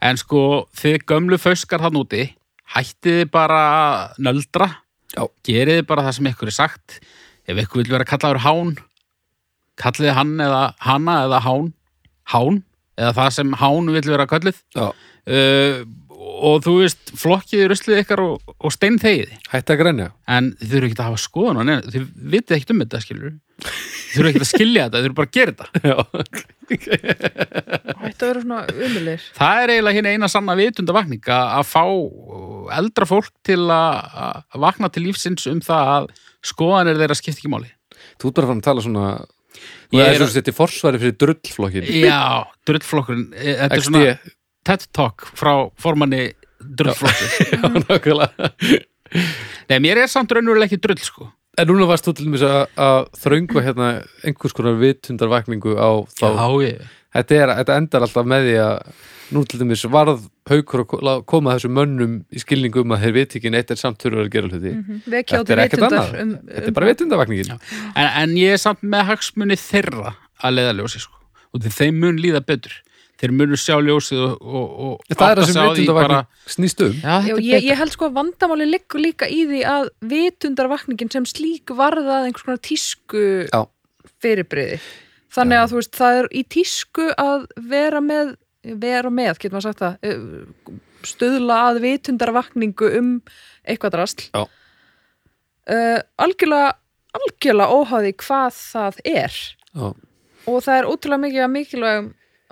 A: en sko þið gömlu föskar hann úti hættið þið bara að nöldra
B: Já.
A: gerið þið bara það sem ykkur er sagt ef ykkur vil vera kallaður hán kallið þið hann eða hanna eða hán hán eða það sem hán vil vera kallið
B: Já,
A: uh, og þú veist flokkið ruslið ykkar og, og stein þegiði
B: hætti að grenja
A: en þið þurfum ekki að hafa skoðun á neinu, þið vitið ekkert um þetta skilur þið þurfum ekki að skilja þetta, þið þurfum bara að gera þetta
B: Já,
C: hættu að vera svona umulir
A: það er eiginlega hérna eina sanna vitundavakning að að fá uh, eldra fólk til að að vakna til lífsins um það að skoðanir þeirra skipta ekki máli
B: þú ert bara fann að tala svona
A: Ég
B: Þú
A: er-
B: er svo sett í forsvari fyrir drullflokkin
A: já, drullflokkurinn eh, þetta er
B: XD,
A: svona TED Talk frá formanni drullflokkur
B: já, (laughs) nákvæmlega
A: nei, mér er samt raunverulega ekki drull sko
B: En núna varst þú til mér að, að þröngu hérna einhvers konar vitundarvækningu á þá
A: ég
B: þetta, er, þetta endar alltaf með því að nú til dæmis varð haukur að ko- lá- koma þessum mönnum í skilningum að þeir viti ekki neitt en samt þurfa að gera hluti Þetta
C: vekja áttu
B: er ekkert
C: vitundar
B: annað.
C: um,
B: Þetta er
C: um,
B: bara vitundarvækningin
A: en, en ég er samt með hagsmunni þeirra að leiða ljósi sko. og þeir- þeim mun líða betur þeir munu sjá ljósið og, og, og
B: Það er
A: átta
B: það sem
A: sig á því bara,
B: vitundarvækning snýst um
A: já,
C: Já,
A: þetta er
C: ég,
A: betra
C: ég held sko að vandamáli liggur líka í því að vitundarvakningin sem slík varðað einhvers konar tísku
B: Já.
C: fyrirbriði þannig að þú veist, það er í tísku að vera með vera með, getur maður sagt það eh, stuðla að vitundarvakningu um eitthvað drasl
B: Já.
C: Eh, algjörlega algjörlega óháði hvað það er
B: Já.
C: og það er ótrúlega mikið að mikilvægum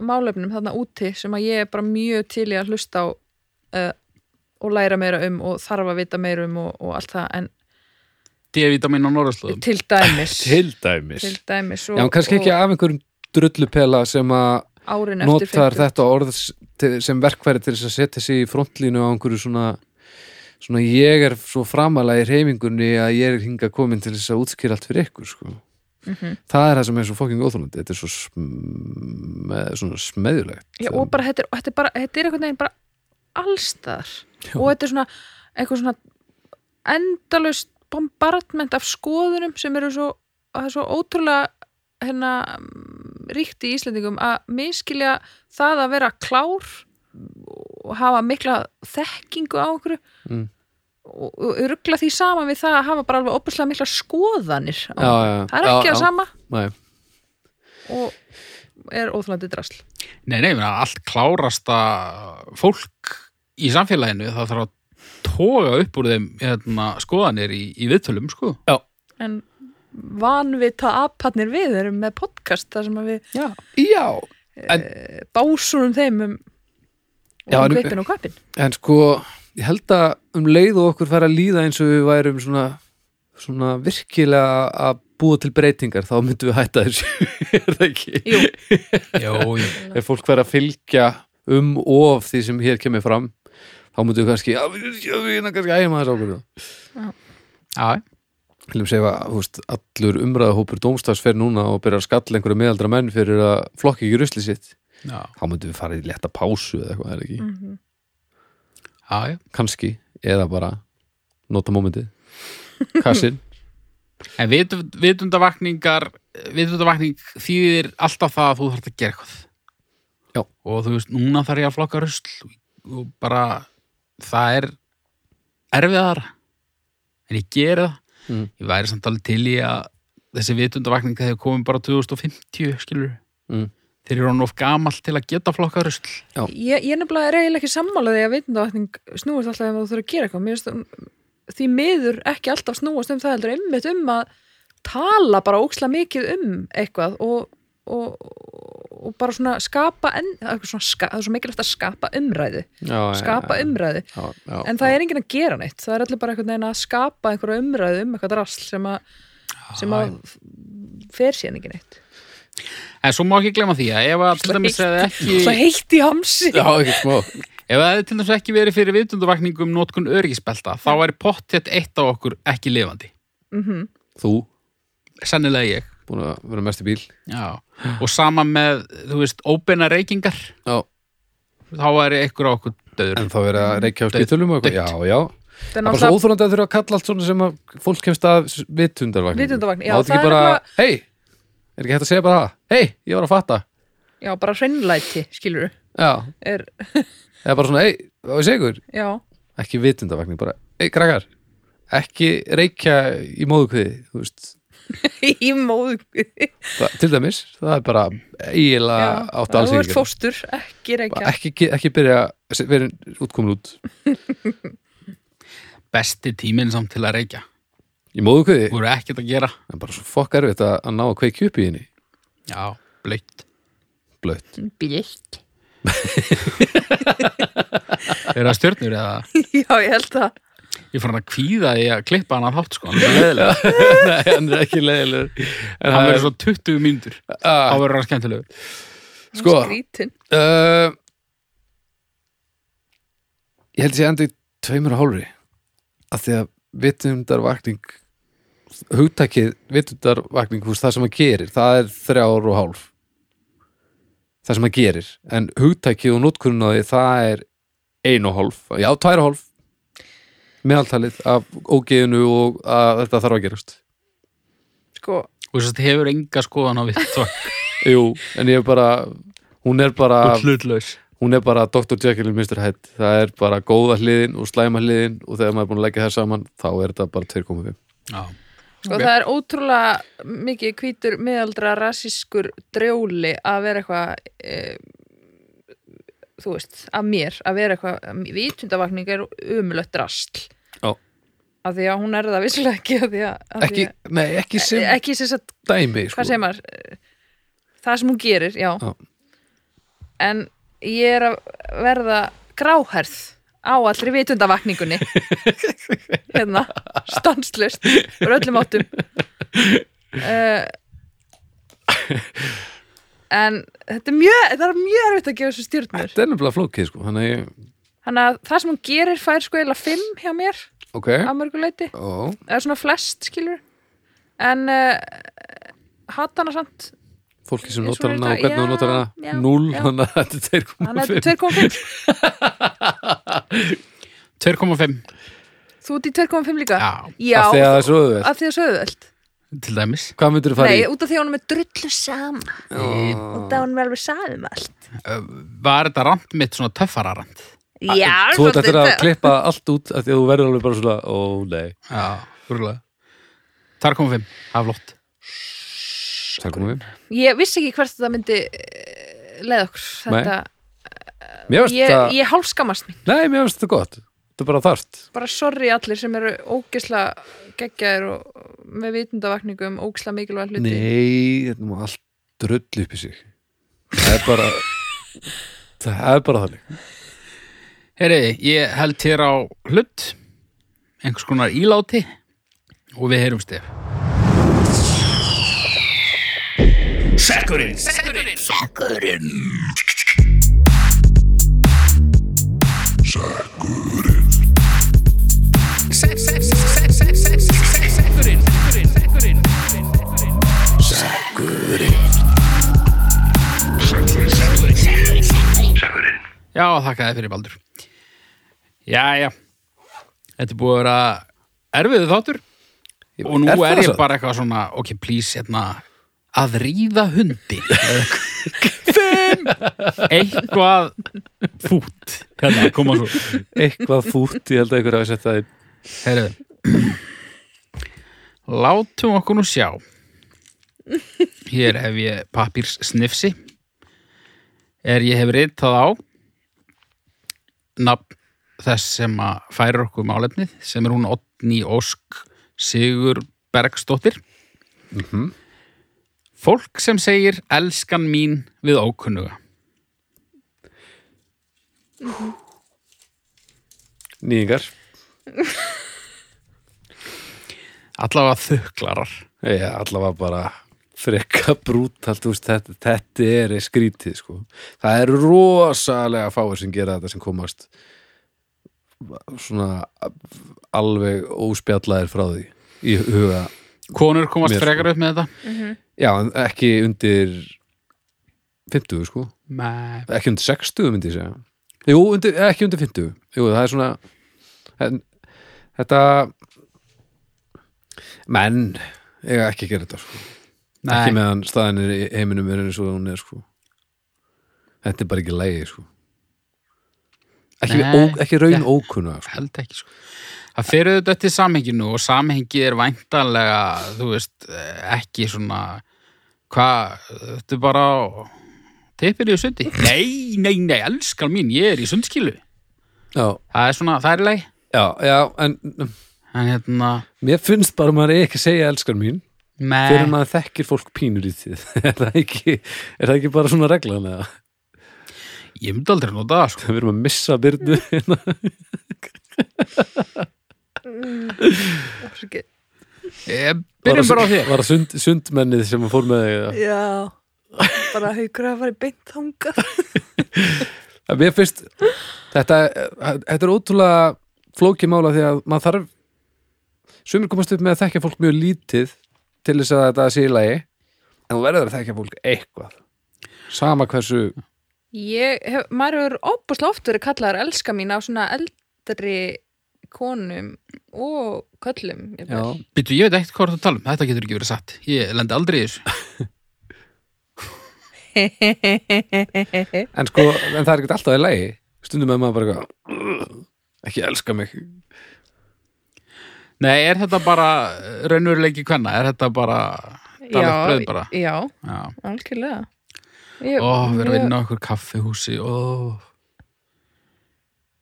C: málefnum þarna úti sem að ég er bara mjög til í að hlusta á uh, og læra meira um og þarf að vita meira um og, og allt það en
A: D-vitamin á norðurslóðum
C: til dæmis
B: Til dæmis
C: til dæmis og,
B: Já, en kannski ekki
C: og
B: af einhverjum drullupela sem að
C: árin eftir
B: notar
C: 50.
B: þetta orð s- til- sem verkfæri til þess að setja sig í frontlínu á einhverju svona svona ég er svo framalega í reyfingunni að ég er hinga komin til þess að útskýra allt fyrir ykkur sko.
C: Mhm.
B: það er það sem er svo fokking óþólandi þetta er svo sm eh, svona smeðjulegt
C: Já, og bara þetta er, og þetta er bara, þetta er einhvern veginn bara allstaðar og þetta er svona eitthvað svona endalaust bombardment af skoðunum sem eru svo, það er svo ótrúlega hérna mm, ríkt í Íslendingum að miskilja það að vera klár og hafa mikla þekkingu á okkur
B: Mm.
C: og, og ruggla því saman við það að hafa bara alveg opuslega mikla skoðanir á
B: Já,
C: einhverju.
B: já, já.
C: það er ekki
B: Já, já.
C: að sama
B: Nei.
C: og er óþlandi drasl
A: nei, nei, ég meina, allt klárasta fólk í samfélaginu það þarf að toga upp úr þeim hérna, skoðanir í, í viðtölum sko.
C: en vanvita apatnir við erum með podcast þar sem að við
B: já, já
C: básunum þeim um
B: Já,
C: og um
B: en-
C: kveitin og kvapin
B: En sko, ég held að um leið og okkur fara að líða eins og við værum svona, svona virkilega að búa til breytingar, þá myndum við hætta þessu, (laughs) er það ekki?
C: Jú,
A: Jó, jú.
B: Ef fólk fara að fylgja um of því sem hér kemur fram, þá myndum við kannski, já, við já, við erum kannski ægum aðeins ákvörðu.
A: Já,
B: Viljum segja að, þú veist, allur umræðahópur dómstags fer núna og byrjar að skalla einhverju meðaldra menn fyrir að flokki ekki rusli sitt,
A: já,
B: þá myndum við fara í letta pásu eða eitthvað, er það ekki?
A: já, já.
B: Kannski, eða bara nota mómentið, kassin.
A: En vitund- vitundavakningar vitundavakning þýðir alltaf það að þú þarft að gera eitthvað
B: Já.
A: og þú veist, núna þarf ég að flokka rusl og bara það er erfiðara en ég gera það
B: Mm.
A: ég væri samt alveg til í að þessi vitundavakning þegar komið bara 2050 skilur
B: Mm.
A: þeir eru hann of gamall til að geta flokka rusl
C: ég, ég nefnilega er eiginlega ekki sammála því að vitundavatning snúast alltaf ef þú þurfa að gera eitthvað Mér finnst um, því miður ekki alltaf snúast um það heldur einmitt um að tala bara óksla mikið um eitthvað og, og, og bara svona skapa en, það er eitthvað svona ska, það er svo mikilvægt að skapa umræðu
B: já,
C: skapa umræðu
B: já, já,
C: en það er enginn að gera neitt það er allir bara einhvern veginn að skapa einhverja umræðu um eitthvað drasl sem að sem að fer síðan ekki neitt
A: En svo má ekki glemma því að ef að til dæmis
C: heitt.
A: hefði
C: svo
A: ekki,
C: heitt í hamsi
B: já, ekki smá
A: ef að hefði til dæmis ekki verið fyrir vitundavakningu um notkun örgisbelta, þá væri pottet eitt á okkur ekki lifandi.
B: þú,
A: Sennilega ég.
B: búin að vera mest í bíl
A: Já. Og sama með, þú veist, óbeina reykingar,
B: já,
A: þá væri einhver á okkur döður.
B: en þá verið að reykja á spítulum og eitthvað, já, já
C: það er
B: það er bara svo
C: náttúrulega
B: óþröndi að þurfa að kalla allt svona sem að fólk kemst að vitundarvagn
C: Vitundarvakningu, já,
B: já, það
C: það er
B: er bara,
C: nefnilega-
B: hei, er ekki hægt að segja bara það hei, ég var að fatta
C: já, bara hreinlæti, skilur
B: já,
C: er,
B: eða bara svona, hei, þá er segur
C: já, (laughs)
B: ekki vitundarvagn, bara, hei, krakkar ekki reykja í móðukviði þú veist,
C: í móðu
B: það, til dæmis það er bara eiginlega átt
C: þú
B: alls
C: ert fóstur, ekki reykja
B: ekki, ekki, ekki byrja að vera útkomin út
A: Besti tíminn samt til að reykja.
B: í móðukviði,
A: Þú eru ekkert að gera.
B: en bara svo fokk erfitt að, að ná að kveikja upp í henni
A: Já,
B: (laughs)
A: blöytt.
B: blött,
C: bílt
A: Er það stjörnur eða?
C: (laughs) já, ég held það
A: Ég fann að kvíða því að klippa hann að þátt, sko. Hann er leiðilega.
B: (laughs) nei, hann er ekki leiðilegur en
A: Hann
B: það er
A: verður svo 20 mínútur.
B: Ah.
A: Þá verður hann skemmtilegur.
B: Sko.
C: skrítin
B: Uh, ég held að ég endi í tveimur og hálfri að því að vitundarvakning hugtakið vitundarvakning hús það sem að gerir, það er þrjár og hálf það sem að gerir en hugtakið og notkunnaði það er ein og hálf já, tvær og hálf meðaltalið af ógeðinu og að þetta þarf að gerast
C: sko,
A: Og þess að hefur enga skoðan á
B: (laughs)
A: vitundavakningu.
B: Jú, en ég er bara hún er bara
A: Og hlutlaus.
B: hún er bara Dr. Jekyll og Mr. Hyde það er bara góða hliðin og slæma hliðin og þegar maður er búin að leggja það saman þá er þetta bara 2,5
A: Já.
C: sko
A: Ok.
C: það er ótrúlega mikið hvítur miðaldra rasískur drjóli að vera eitthvað e, þú veist, að mér að vera eitthvað, vitundavakning er umlött drastl
B: Já.
C: af því að hún er það vissulega ekki af því að, af
B: ekki,
C: því
B: nei, ekki sem
C: að, ekki sem sagt,
B: dæmi sko.
C: hvað segir maður Eh, það sem hún gerir, já,
B: Já.
C: en ég er að verða gráherð á allri vitundavakningunni hérna, stanslust úr öllum áttum uh, en þetta er mjög það er mjög erfitt að gefa þessu stjórnur
B: þetta er nefnilega flókið sko. þannig, að ég-
C: þannig að það sem hún gerir fær sko eila 5 hjá mér
B: ok
C: að mörguleiti,
B: Ó,
C: eða svona flest skilur en uh, hatt hana samt
B: fólki sem
C: Ég-
B: notar
C: svona
B: hana og
C: þetta-
B: hvernig hún notar
C: já,
B: hana
C: já,
B: 0,
C: já.
B: þannig að þetta er
C: hann
B: (laughs)
C: er
B: 2,5
C: 2,5
A: 2,5.
C: þú ert í 2,5 líka
A: Já.
C: já
B: af því að það er svo auðvelt
C: af því að sögðu öll
A: Til dæmis.
B: hvað myndirðu fara
C: nei,
B: í? Ah.
C: út af því að hún er með drullu sama og það hún er alveg saðum allt
A: Var þetta rand mitt svona töffara rand?
C: já,
B: Ah, þú ert eftir að
C: svolítið.
B: klippa allt út af því að þú verður alveg bara svona ó nei,
A: Já, úrlega. 2,5. Það er flott.
B: það komum við
C: ég vissi ekki hvert þetta myndi eh, leiða okkur þetta,
B: mér finnst
C: ég,
B: þetta,
C: ég hálfskammast mín
B: nei, mér finnst þetta gott þetta er bara þarft
C: bara sorry allir sem eru ógisla geggjaðir og með vitundavakningu um ógisla mikilvæg hluti
B: Nei, þetta má allt dröll upp í sig Það er
A: (laughs)
B: bara Það er bara þannig
A: Heyri, ég held hér á hlut, einhvers konar íláti og við heyrumst þér. Já, þakka þið fyrir Baldur. Jæja, þetta er búið að vera erfiðu þáttur og nú er, ég bara eitthvað svona, ok, please, hérna, að ríða hundi. (laughs) Fimm! Eitthvað fút. Hérna, koma svo.
B: Eitthvað fút, ég held að ykkur hafi sett það í
A: Heyrðu, látum okkur nú sjá. Hér hef ég pappírs snifsi. Er ég hef ritað á nafn þess sem að færa okkur málefnið, sem er hún
B: Mhm.
A: Oddný Ósk Sigur Bergsdóttir. Fólk sem segir elskan mín við ókunnuga.
B: nýingar
A: Allavega þuklarar.
B: Já, allavega bara frekka brútal, þú veist, þetta, þetta er skrítið, sko. Það eru rosalega fáir sem gera þetta sem komast svona alveg óspjallaðir frá því í huga.
A: Konur komast
B: Mér, sko.
A: frekar upp með þetta.
B: Já, en ekki undir 50, sko.
A: Nei.
B: Ekki undir 60, myndi ég segja. Jú, undir, eh, ekki undir 50. Jú, það er svona en, þetta menn eiga ekki að gera þetta, sko. ekki
A: Nei.
B: meðan staðan er í heiminum er eins og hún er sko þetta er bara ekki lægi sko ekki,
A: Nei.
B: við ó, ekki raun
A: Ja.
B: ókunna sko.
A: Held ekki sko. Það fyrir þetta til samhenginu og samhengið er væntanlega, þú veist, eh, ekki svona, hvað, þetta er bara á- tippir í sundi. Nei, nei, nei, elskan mín, ég er í sundskilu.
B: já,
A: Það er svona, það er leið.
B: já, já, en um,
A: En hérna,
B: mér finnst bara að maður eigi ekki að segja elskar mín fyrir
A: með,
B: maður þekkir fólk pínur í þið (laughs) er, það ekki, er það ekki bara svona reglan eða
A: ég myndi aldrei nota það, sko.
B: við erum að missa byrnu hérna.
C: Afsakið.
A: Ég, Eh, byrjum bara á þér.
B: var það sund, sundmennið sem fór með þig eða?
C: Já bara haukur að fara í beint þangað
B: En Mér finnst þetta, þetta er ótrúlega flókið mála því að maður þarf sumir komast upp með að þekkja fólk mjög lítið til þess að þetta sé í lagi en þú verður að þekkja fólk eitthvað sama hversu
C: Ég hef, maður hefur óbúslega oft verið kallaðar elska mín á svona eldri konum og köllum
B: já,
C: jafnvel.
A: Býtu, ég veit ekkert hvað þú ert að tala um, þetta getur ekki verið satt. Ég lendi aldrei í þessu.
B: en sko, en það er ekkert alltaf í lagi stundum með maður bara eitthvað ekki elska mig
A: Nei, er þetta bara raunveruleiki hvenna? Er þetta bara daglegt brauð bara?
C: já,
A: Já.
C: algjörlega ég,
A: Ó, við erum
C: mjög-
A: inn á okkur kaffihúsi, ó.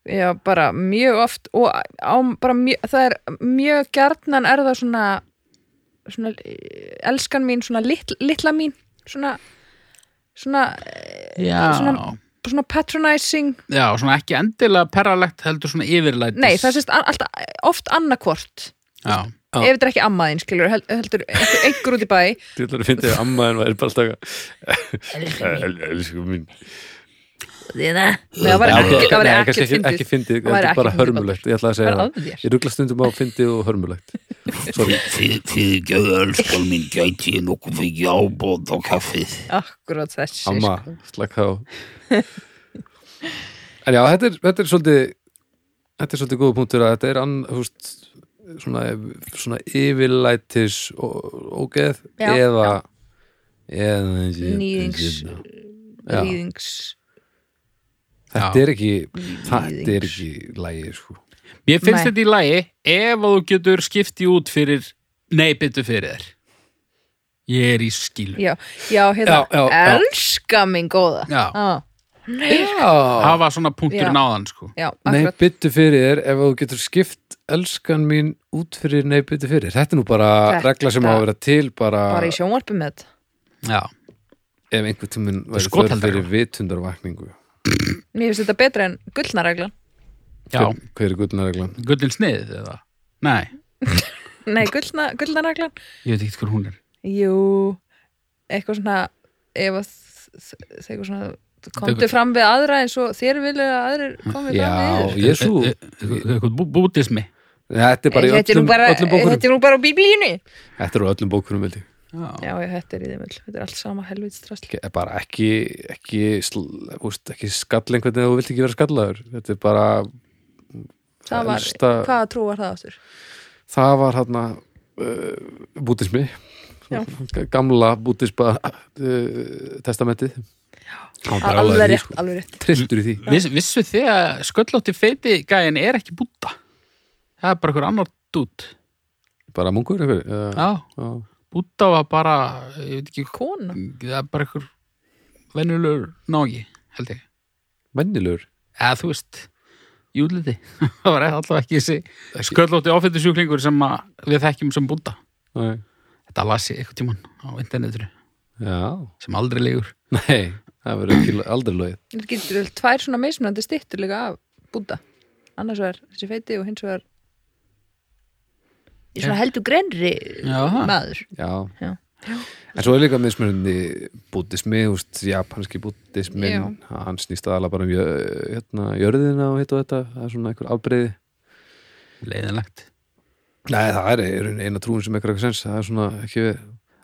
C: Já, bara mjög oft og á, bara mjög, það er mjög gjarnan er það svona, svona eh, elskan mín, svona litla, litla mín svona svona, eh,
A: Já.
C: Svona- svona patronizing
A: Já, svona ekki endilega perralegt heldur svona yfirlætis.
C: nei, það sést a- alltaf oft annarkvort
A: Já,
B: Já.
C: ef þetta er ekki ammaðin, skilur, hel- heldur einhver, einhver út í bæ
B: til þú finnir að ammaðin væri bara alltaf eitthvað, "El- elska mín
C: Nei, það var
B: Já,
C: ekki,
B: ok,
C: það var
B: nei,
C: ekki,
B: kannski ekki, ekki fyndið,
C: Það væri
B: þetta er
C: ekki
B: bara
C: fyndið,
B: hörmulegt ég ætla að
C: það
B: segja
C: var
B: það,
C: að þér
B: ég ruggla stundum á fyndið og hörmulegt Sorry.
D: Þið gæðu elskan mín gæti ég nokkuð fyrir ábóð á kaffið.
C: akkurat þessi
B: Amma, slaka á En já, þetta er, þetta er svolítið þetta er svolítið góða punktur að þetta er ann, húst, svona, svona yfirlætis og ógeð
C: Já,
B: eða eða
C: nýðings
B: Já.
C: rýðings
B: þetta er ekki þetta er
C: Nýðings.
B: ekki lægi sko.
A: mér finnst
C: Nei.
A: þetta í lagi ef að þú getur skipti út fyrir, nei, byttu fyrir þér. Ég er í skilu.
C: já, já, hérna,
B: Já, já, já.
C: elska mín góða
A: Já.
C: ah,
B: Já,
A: Hafa svona punktur
C: Já.
A: náðan, sko.
C: já,
B: nei,
C: akkurat
B: byttu fyrir þér ef þú getur skipt elskan mín út fyrir nei, byttu fyrir þér. þetta er nú bara
C: Þetta-
B: regla sem á að vera til bara,
C: bara í sjónvarpi með þetta
A: Já.
B: ef einhver tíminn væri
A: Skotheld
B: þörf fyrir
A: regla.
B: vitundarvakningu
C: mér finnst þetta betra en gullnareglan
A: Já.
B: hver, hver er gullnareglan?
A: Gullin snið, eða? Nei,
C: nei, gullna, gullnareglan
A: ég veit ekki hver hún er.
C: jú, eitthvað svona ef að þ- þ- eitthvað svona komdu
A: Eitthvað-
C: fram við aðra eins og þér vilja að aðrir komið fram við
B: Já,
C: þér.
B: Jesú
A: E- e- e- Eitthvað bú- bútismi.
B: Þetta er bara í
C: þetta er nú
B: öllum,
C: bara,
B: öllum
C: þetta
B: bókunum
C: er nú bara á bíblíunni
B: Þetta er á öllum bókunum veldi
A: Já.
C: já, já, þetta er í þeim öll, þetta er allt sama helvitstrasl
B: bara ekki, ekki, sl- úst, ekki skall einhvern veginn að þú vilt ekki vera skallaður þetta er bara
C: það var,
B: elsta-
C: hvaða trú var það áttur?
B: það var hérna uh, bútismi
C: Já.
B: gamla bútispa uh, testamentið Það var bara alveg
C: alveg
B: í því,
C: rétt,
B: sko.
C: alveg rétt
B: trilltur í því
A: Viss, vissu þið að sköllótti feiti gæin er ekki búta það er bara einhver annar dút
B: bara munkur einhver uh,
A: já,
B: já.
A: búta var bara ég veit ekki,
C: kona,
A: það er bara einhver venjulegur nági, held ég
B: vennilegur
A: eða þú veist, júliti (laughs) það var allavega ekki þessi sköllótti áfættu sjúklingur sem að við þekkjum sem búta
B: Nei.
A: þetta las ég eitthvað tíman á internetinu
B: Já,
A: sem aldrei legur
B: nei, það verður ekki aldrei logið
C: Þetta getur vel tvær svona mismunandi styttur líka af búta annars vegar þessi feiti og hins vegar í svona heldur grenri
A: Já, það.
C: maður
B: Já.
C: Já.
B: En svo er líka mismunandi búddismi, úst, japanski búddismin, hann snýst aðalega bara um jö, hérna, jörðina og hitt og þetta, það er svona einhver afbreyði.
A: leiðinlegt
B: Nei, það er í rauninni eina trúin sem eitthvað sens, það er svona ekki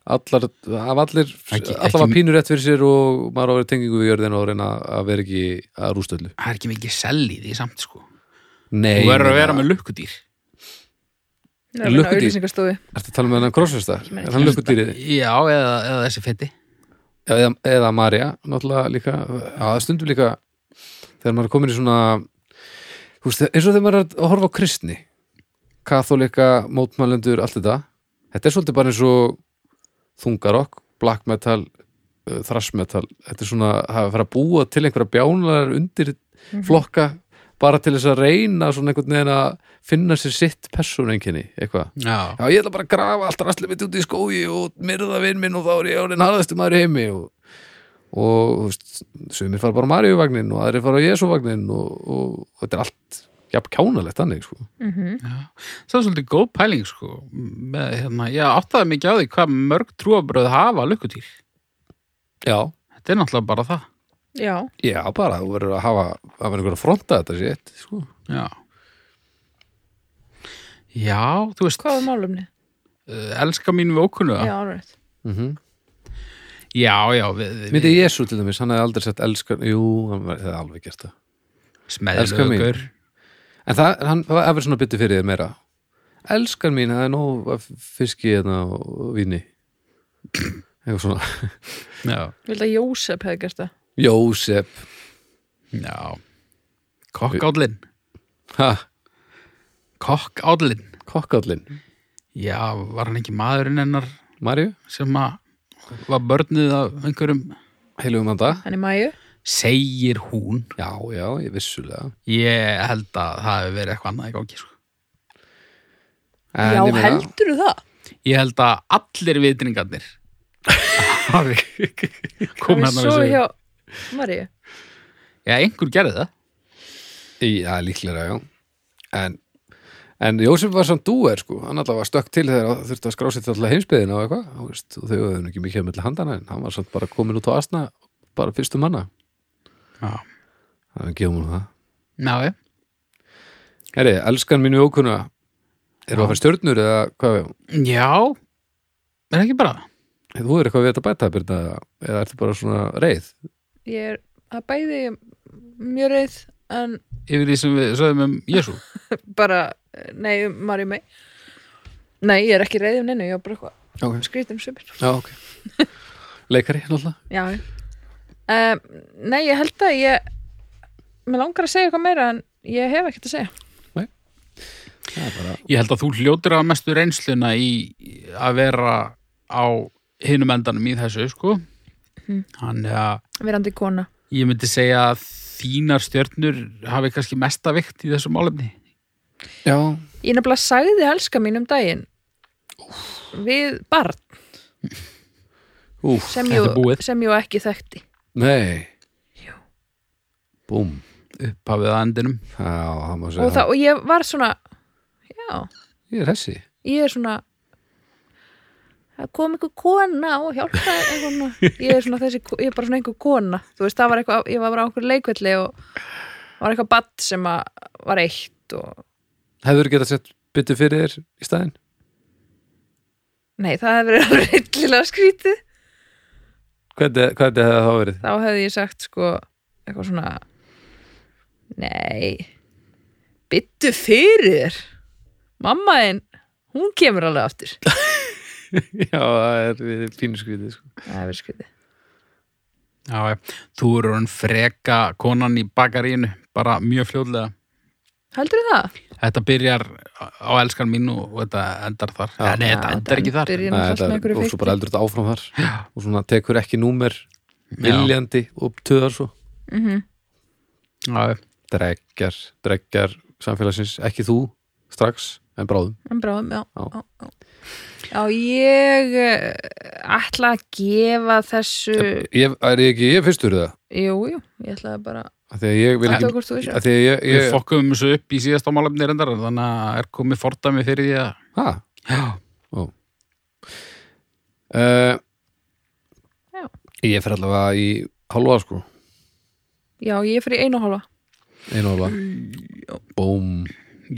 B: allar, af allir,
A: Ekki-
B: allar var
A: ekki-
B: pínur rétt fyrir sér og maður á að vera í tengingu við jörðina og reyna að vera ekki að rústa öllu.
A: það er ekki mikið sell í því samt sko
B: Nei,
A: þú verður að
B: ég
A: vera
B: meina,
A: með lukkudýr
B: Lukkudýr.
C: auðlýsingastofu
B: Ertu að tala með hennan krossfesta? Er hann lukkudýrið?
A: já, eða, eða þessi feiti
B: eða, eða Marja náttúrulega líka, já, það stundum líka þegar maður er komin í svona þú veist, eins og þegar maður er að horfa á kristni katholika, mótmælendur, allt þetta þetta er svolítið bara eins og þungarokk, black metal uh, thrash metal, þetta er svona að fara að búa til einhverja bjánar undir flokka, bara til þess að reyna svona einhvern veginn að finna sér sitt persónenginni, eitthvað
A: já,
B: Já, ég ætla bara að grafa allt rastlið mitt út í skói og myrða vinn minn og þá er ég orðin harðastu maður í heimi og, og þú veist, sumir fara bara á Maríu-vagnin og aðrir fara á Jésu-vagnin og, og, þetta er allt jafn kjánalegt þannig, sko.
A: það er svolítið góð pæling sko með, hérna, ég áttaði mikið á því hvað mörg trúabröð hafa lukkudýr
B: Já.
A: þetta er náttúrulega bara það
C: já,
B: Já, bara, þú verður að hafa að vera einhver að fronta þetta sétt, sko.
A: já já, þú veist
C: hvað var málumni?
A: eh, elska mín við ókunnu
C: já,
A: já,
C: alveg
B: Mm
A: já, við, við,
B: Myndi Jésu til dæmis, hann hefði aldrei sett elskan, jú, hann var- hefði alveg gert það. Elska mín.
A: smeðilegur
B: En það, hann, það var efur svona byttu fyrir þér meira. Elskan mín, það er nóg af fiski hérna og víni. Eitthvað svona.
A: já,
C: Vildi að Jósef hefði gert það
B: Jósef
A: já kokkállin
B: Ha,
A: kokkállin
B: kokkállin
A: Já, var hann ekki maðurinn hennar
B: Marju,
A: sem að var börnið af einhverjum
B: heilum anda
C: hann í mæju
A: segir hún
B: Já, já, ég vissulega
A: ég held að það hefur verið eitthvað annað í gangi sko.
B: En
C: já,
B: ég meina-
C: heldur það?
A: ég held að allir vitringarnir hafi
C: Kom
A: komið hann að
C: svo
A: þessu
C: hjá Maríu
A: já, einhver gerði það
B: Í- Já, líklega, já En, en Jósef var samt dúer, sko Hann alltaf var stökk til þegar það þurfti að skrásið alltaf heimsbyðina og eitthvað þú veist, og þau höfðu nú ekki mikið að milli handana en hann var samt bara komin út á asna bara fyrstu manna
A: já,
B: Þannig að gefum hún það
A: já, já.
B: Heri, elskan mínu ókunna Erum við að fara í stjörnur eða hvað við
A: já er ekki bara það?
B: Þú er eitthvað við þetta bæta, Birna, eða- eða ertu bara svona reið?
C: ég er að bæði mjög reið en
A: yfir því sem við sögum um Jésu
C: bara, nei, um Maríu mei nei, ég er ekki reið um neinu ég er bara eitthvað
B: Okay.
C: skrýtum svipir
B: Já, ok (laughs) Leikari, náttúrulega
C: já um, nei, ég held að ég mér langar að segja eitthvað meira en ég hef ekkert að segja
B: Það er bara
A: ég held að þú hljótur að mestu reynsluna í í að vera á hinum endanum í þessu sko
C: Hmm.
A: hann er að
C: verandi kona
A: Ég myndi segja að þínar stjörnur hafi kannski mesta vikt í þessu málefni.
B: Já,
C: ég nefnilega sagði helska mín um daginn við barn
B: úf,
C: sem
A: Þetta er
C: jú,
A: búið.
C: sem jú ekki þekkti
B: nei
C: Jú.
B: Búm,
A: Upphafið að endinum.
B: já, það má segja
C: og, það, og ég var svona já,
B: Ég er hessi
C: ég er svona það kom einhver kona og hjálpaði einhverna ég er svona þessi, ég er bara svona einhver kona þú veist, það var eitthvað, ég var bara á einhver leikvelli og var eitthvað badd sem að var eitt og,
B: Hefur getað sett byttu fyrir þér í staðinn?
C: nei, það hefði verið alveg reyllilega skrítið
B: Hvernig, hvernig hefði það verið?
C: þá hefði ég sagt sko eitthvað svona nei byttu fyrir þér mamma þinn, hún kemur alveg aftur
B: (laughs) Já, það er við pínu skrítið sko.
C: það hefur skrítið
A: Já, já. Þú eru hann freka konan í bakarínu, bara mjög fljóðlega.
C: heldur það?
A: Þetta byrjar á elskan mín og og þetta endar þar. Já, Nei, þetta endar ekki þar.
C: byrjum
B: Nei,
C: alltaf
B: þetta
C: með
B: er-
C: einhverju
B: Og svo bara
C: fikti.
B: eldur þetta áfram þar Og svona tekur ekki númer
A: Já,
B: viljandi og töðar svo
A: já, já.
B: Dregjar, dregjar samfélagsins Ekki þú, strax, en bráðum
C: En bráðum, já,
B: Já.
C: já. já. Já, ég eh, ætla að gefa þessu
B: ég, er ég ekki, ég fyrstur það
C: Jú, jú, ég ætlaði bara
B: að því að ég vil
C: að
B: ekki
C: tók hvort þú þessu
B: að því að ég,
A: Við
B: ég
A: fokkum þessu upp í síðasta málefni reyndar en þannig að er komið fordæmi fyrir því að
B: ha,
A: Já,
B: uh,
C: Já.
B: ég fer allavega í halva sko
C: Já, ég fyrir einu og hálfa
B: einu halva búm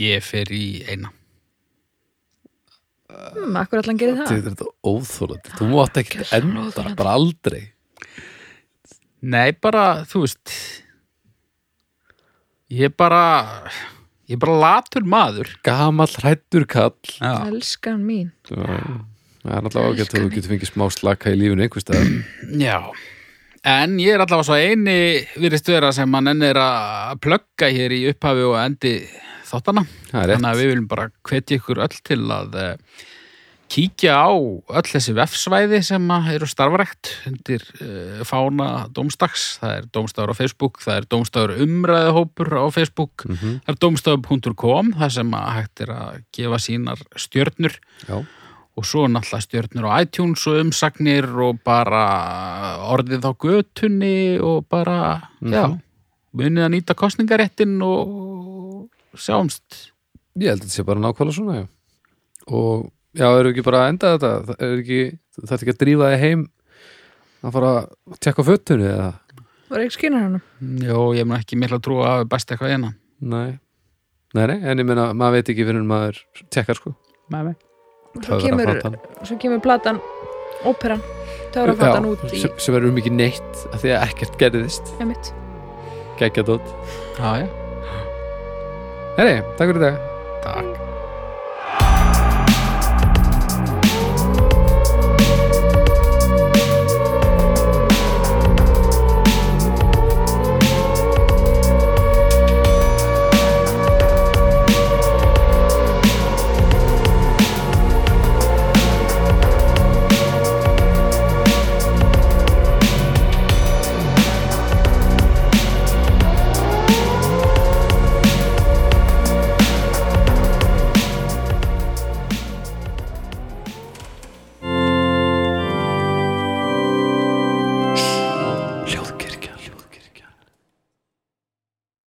A: ég fer í eina
C: hmm, Akkur ætla hann gerir það
B: þetta er þetta óþólandi, þú mátt ekki
C: Gjörsamlega
B: enda,
C: óþolandi.
B: bara aldrei
A: Nei, bara, þú veist Ég er bara Ég er bara latur maður
B: gamall hrættur kall
A: Já,
C: Elskan mín
B: það er allavega ágætt að þú getur fengið smá slaka í lífinu einhvers staðar
C: (clears throat)
A: já. En ég er allavega svo eini virðist vera sem mann enn er að plugga hér í upphafi og endi þáttana
B: það er
A: Þannig
B: rétt,
A: að við viljum bara hvetja ykkur öll til að eh, kíkja á öll þessi vefsvæði sem að eru starfrækt undir uh, fána Dómstags. Það er Dómstafur á Facebook, það er Dómstafur umræðahópur á Facebook,
B: Mhm.
A: það er dómstafur.com, það sem að hægt er að gefa sínar stjörnur
B: já,
A: og svo náttúrulega stjörnur á iTunes og umsagnir og bara orðið á götunni og bara, já, munið að nýta kostningaréttin og sjáumst.
B: ég held að þetta sé bara nákvæmlega svona já. og já, eru ekki bara að enda þetta það er ekki, það er ekki að drífa þig heim að fara að tjekka á föttunni eða,
C: Var ekki skynar hann
A: Jó, ég mun ekki mikla trú að hafa bæst eitthvað einan.
B: nei nei, nei, en ég meina, maður veit ekki fyrir en maður tjekkar sko,
A: Með mig.
C: Svo kemur,
B: Töfraflatan.
C: svo kemur platan Óperan Töfraflatan út í
B: sem, sem er um ekki neitt af því að ekkert gerðist,
C: Einmitt.
B: geggja dót
A: Já, já.
B: herri, takk fyrir í dag
A: Takk.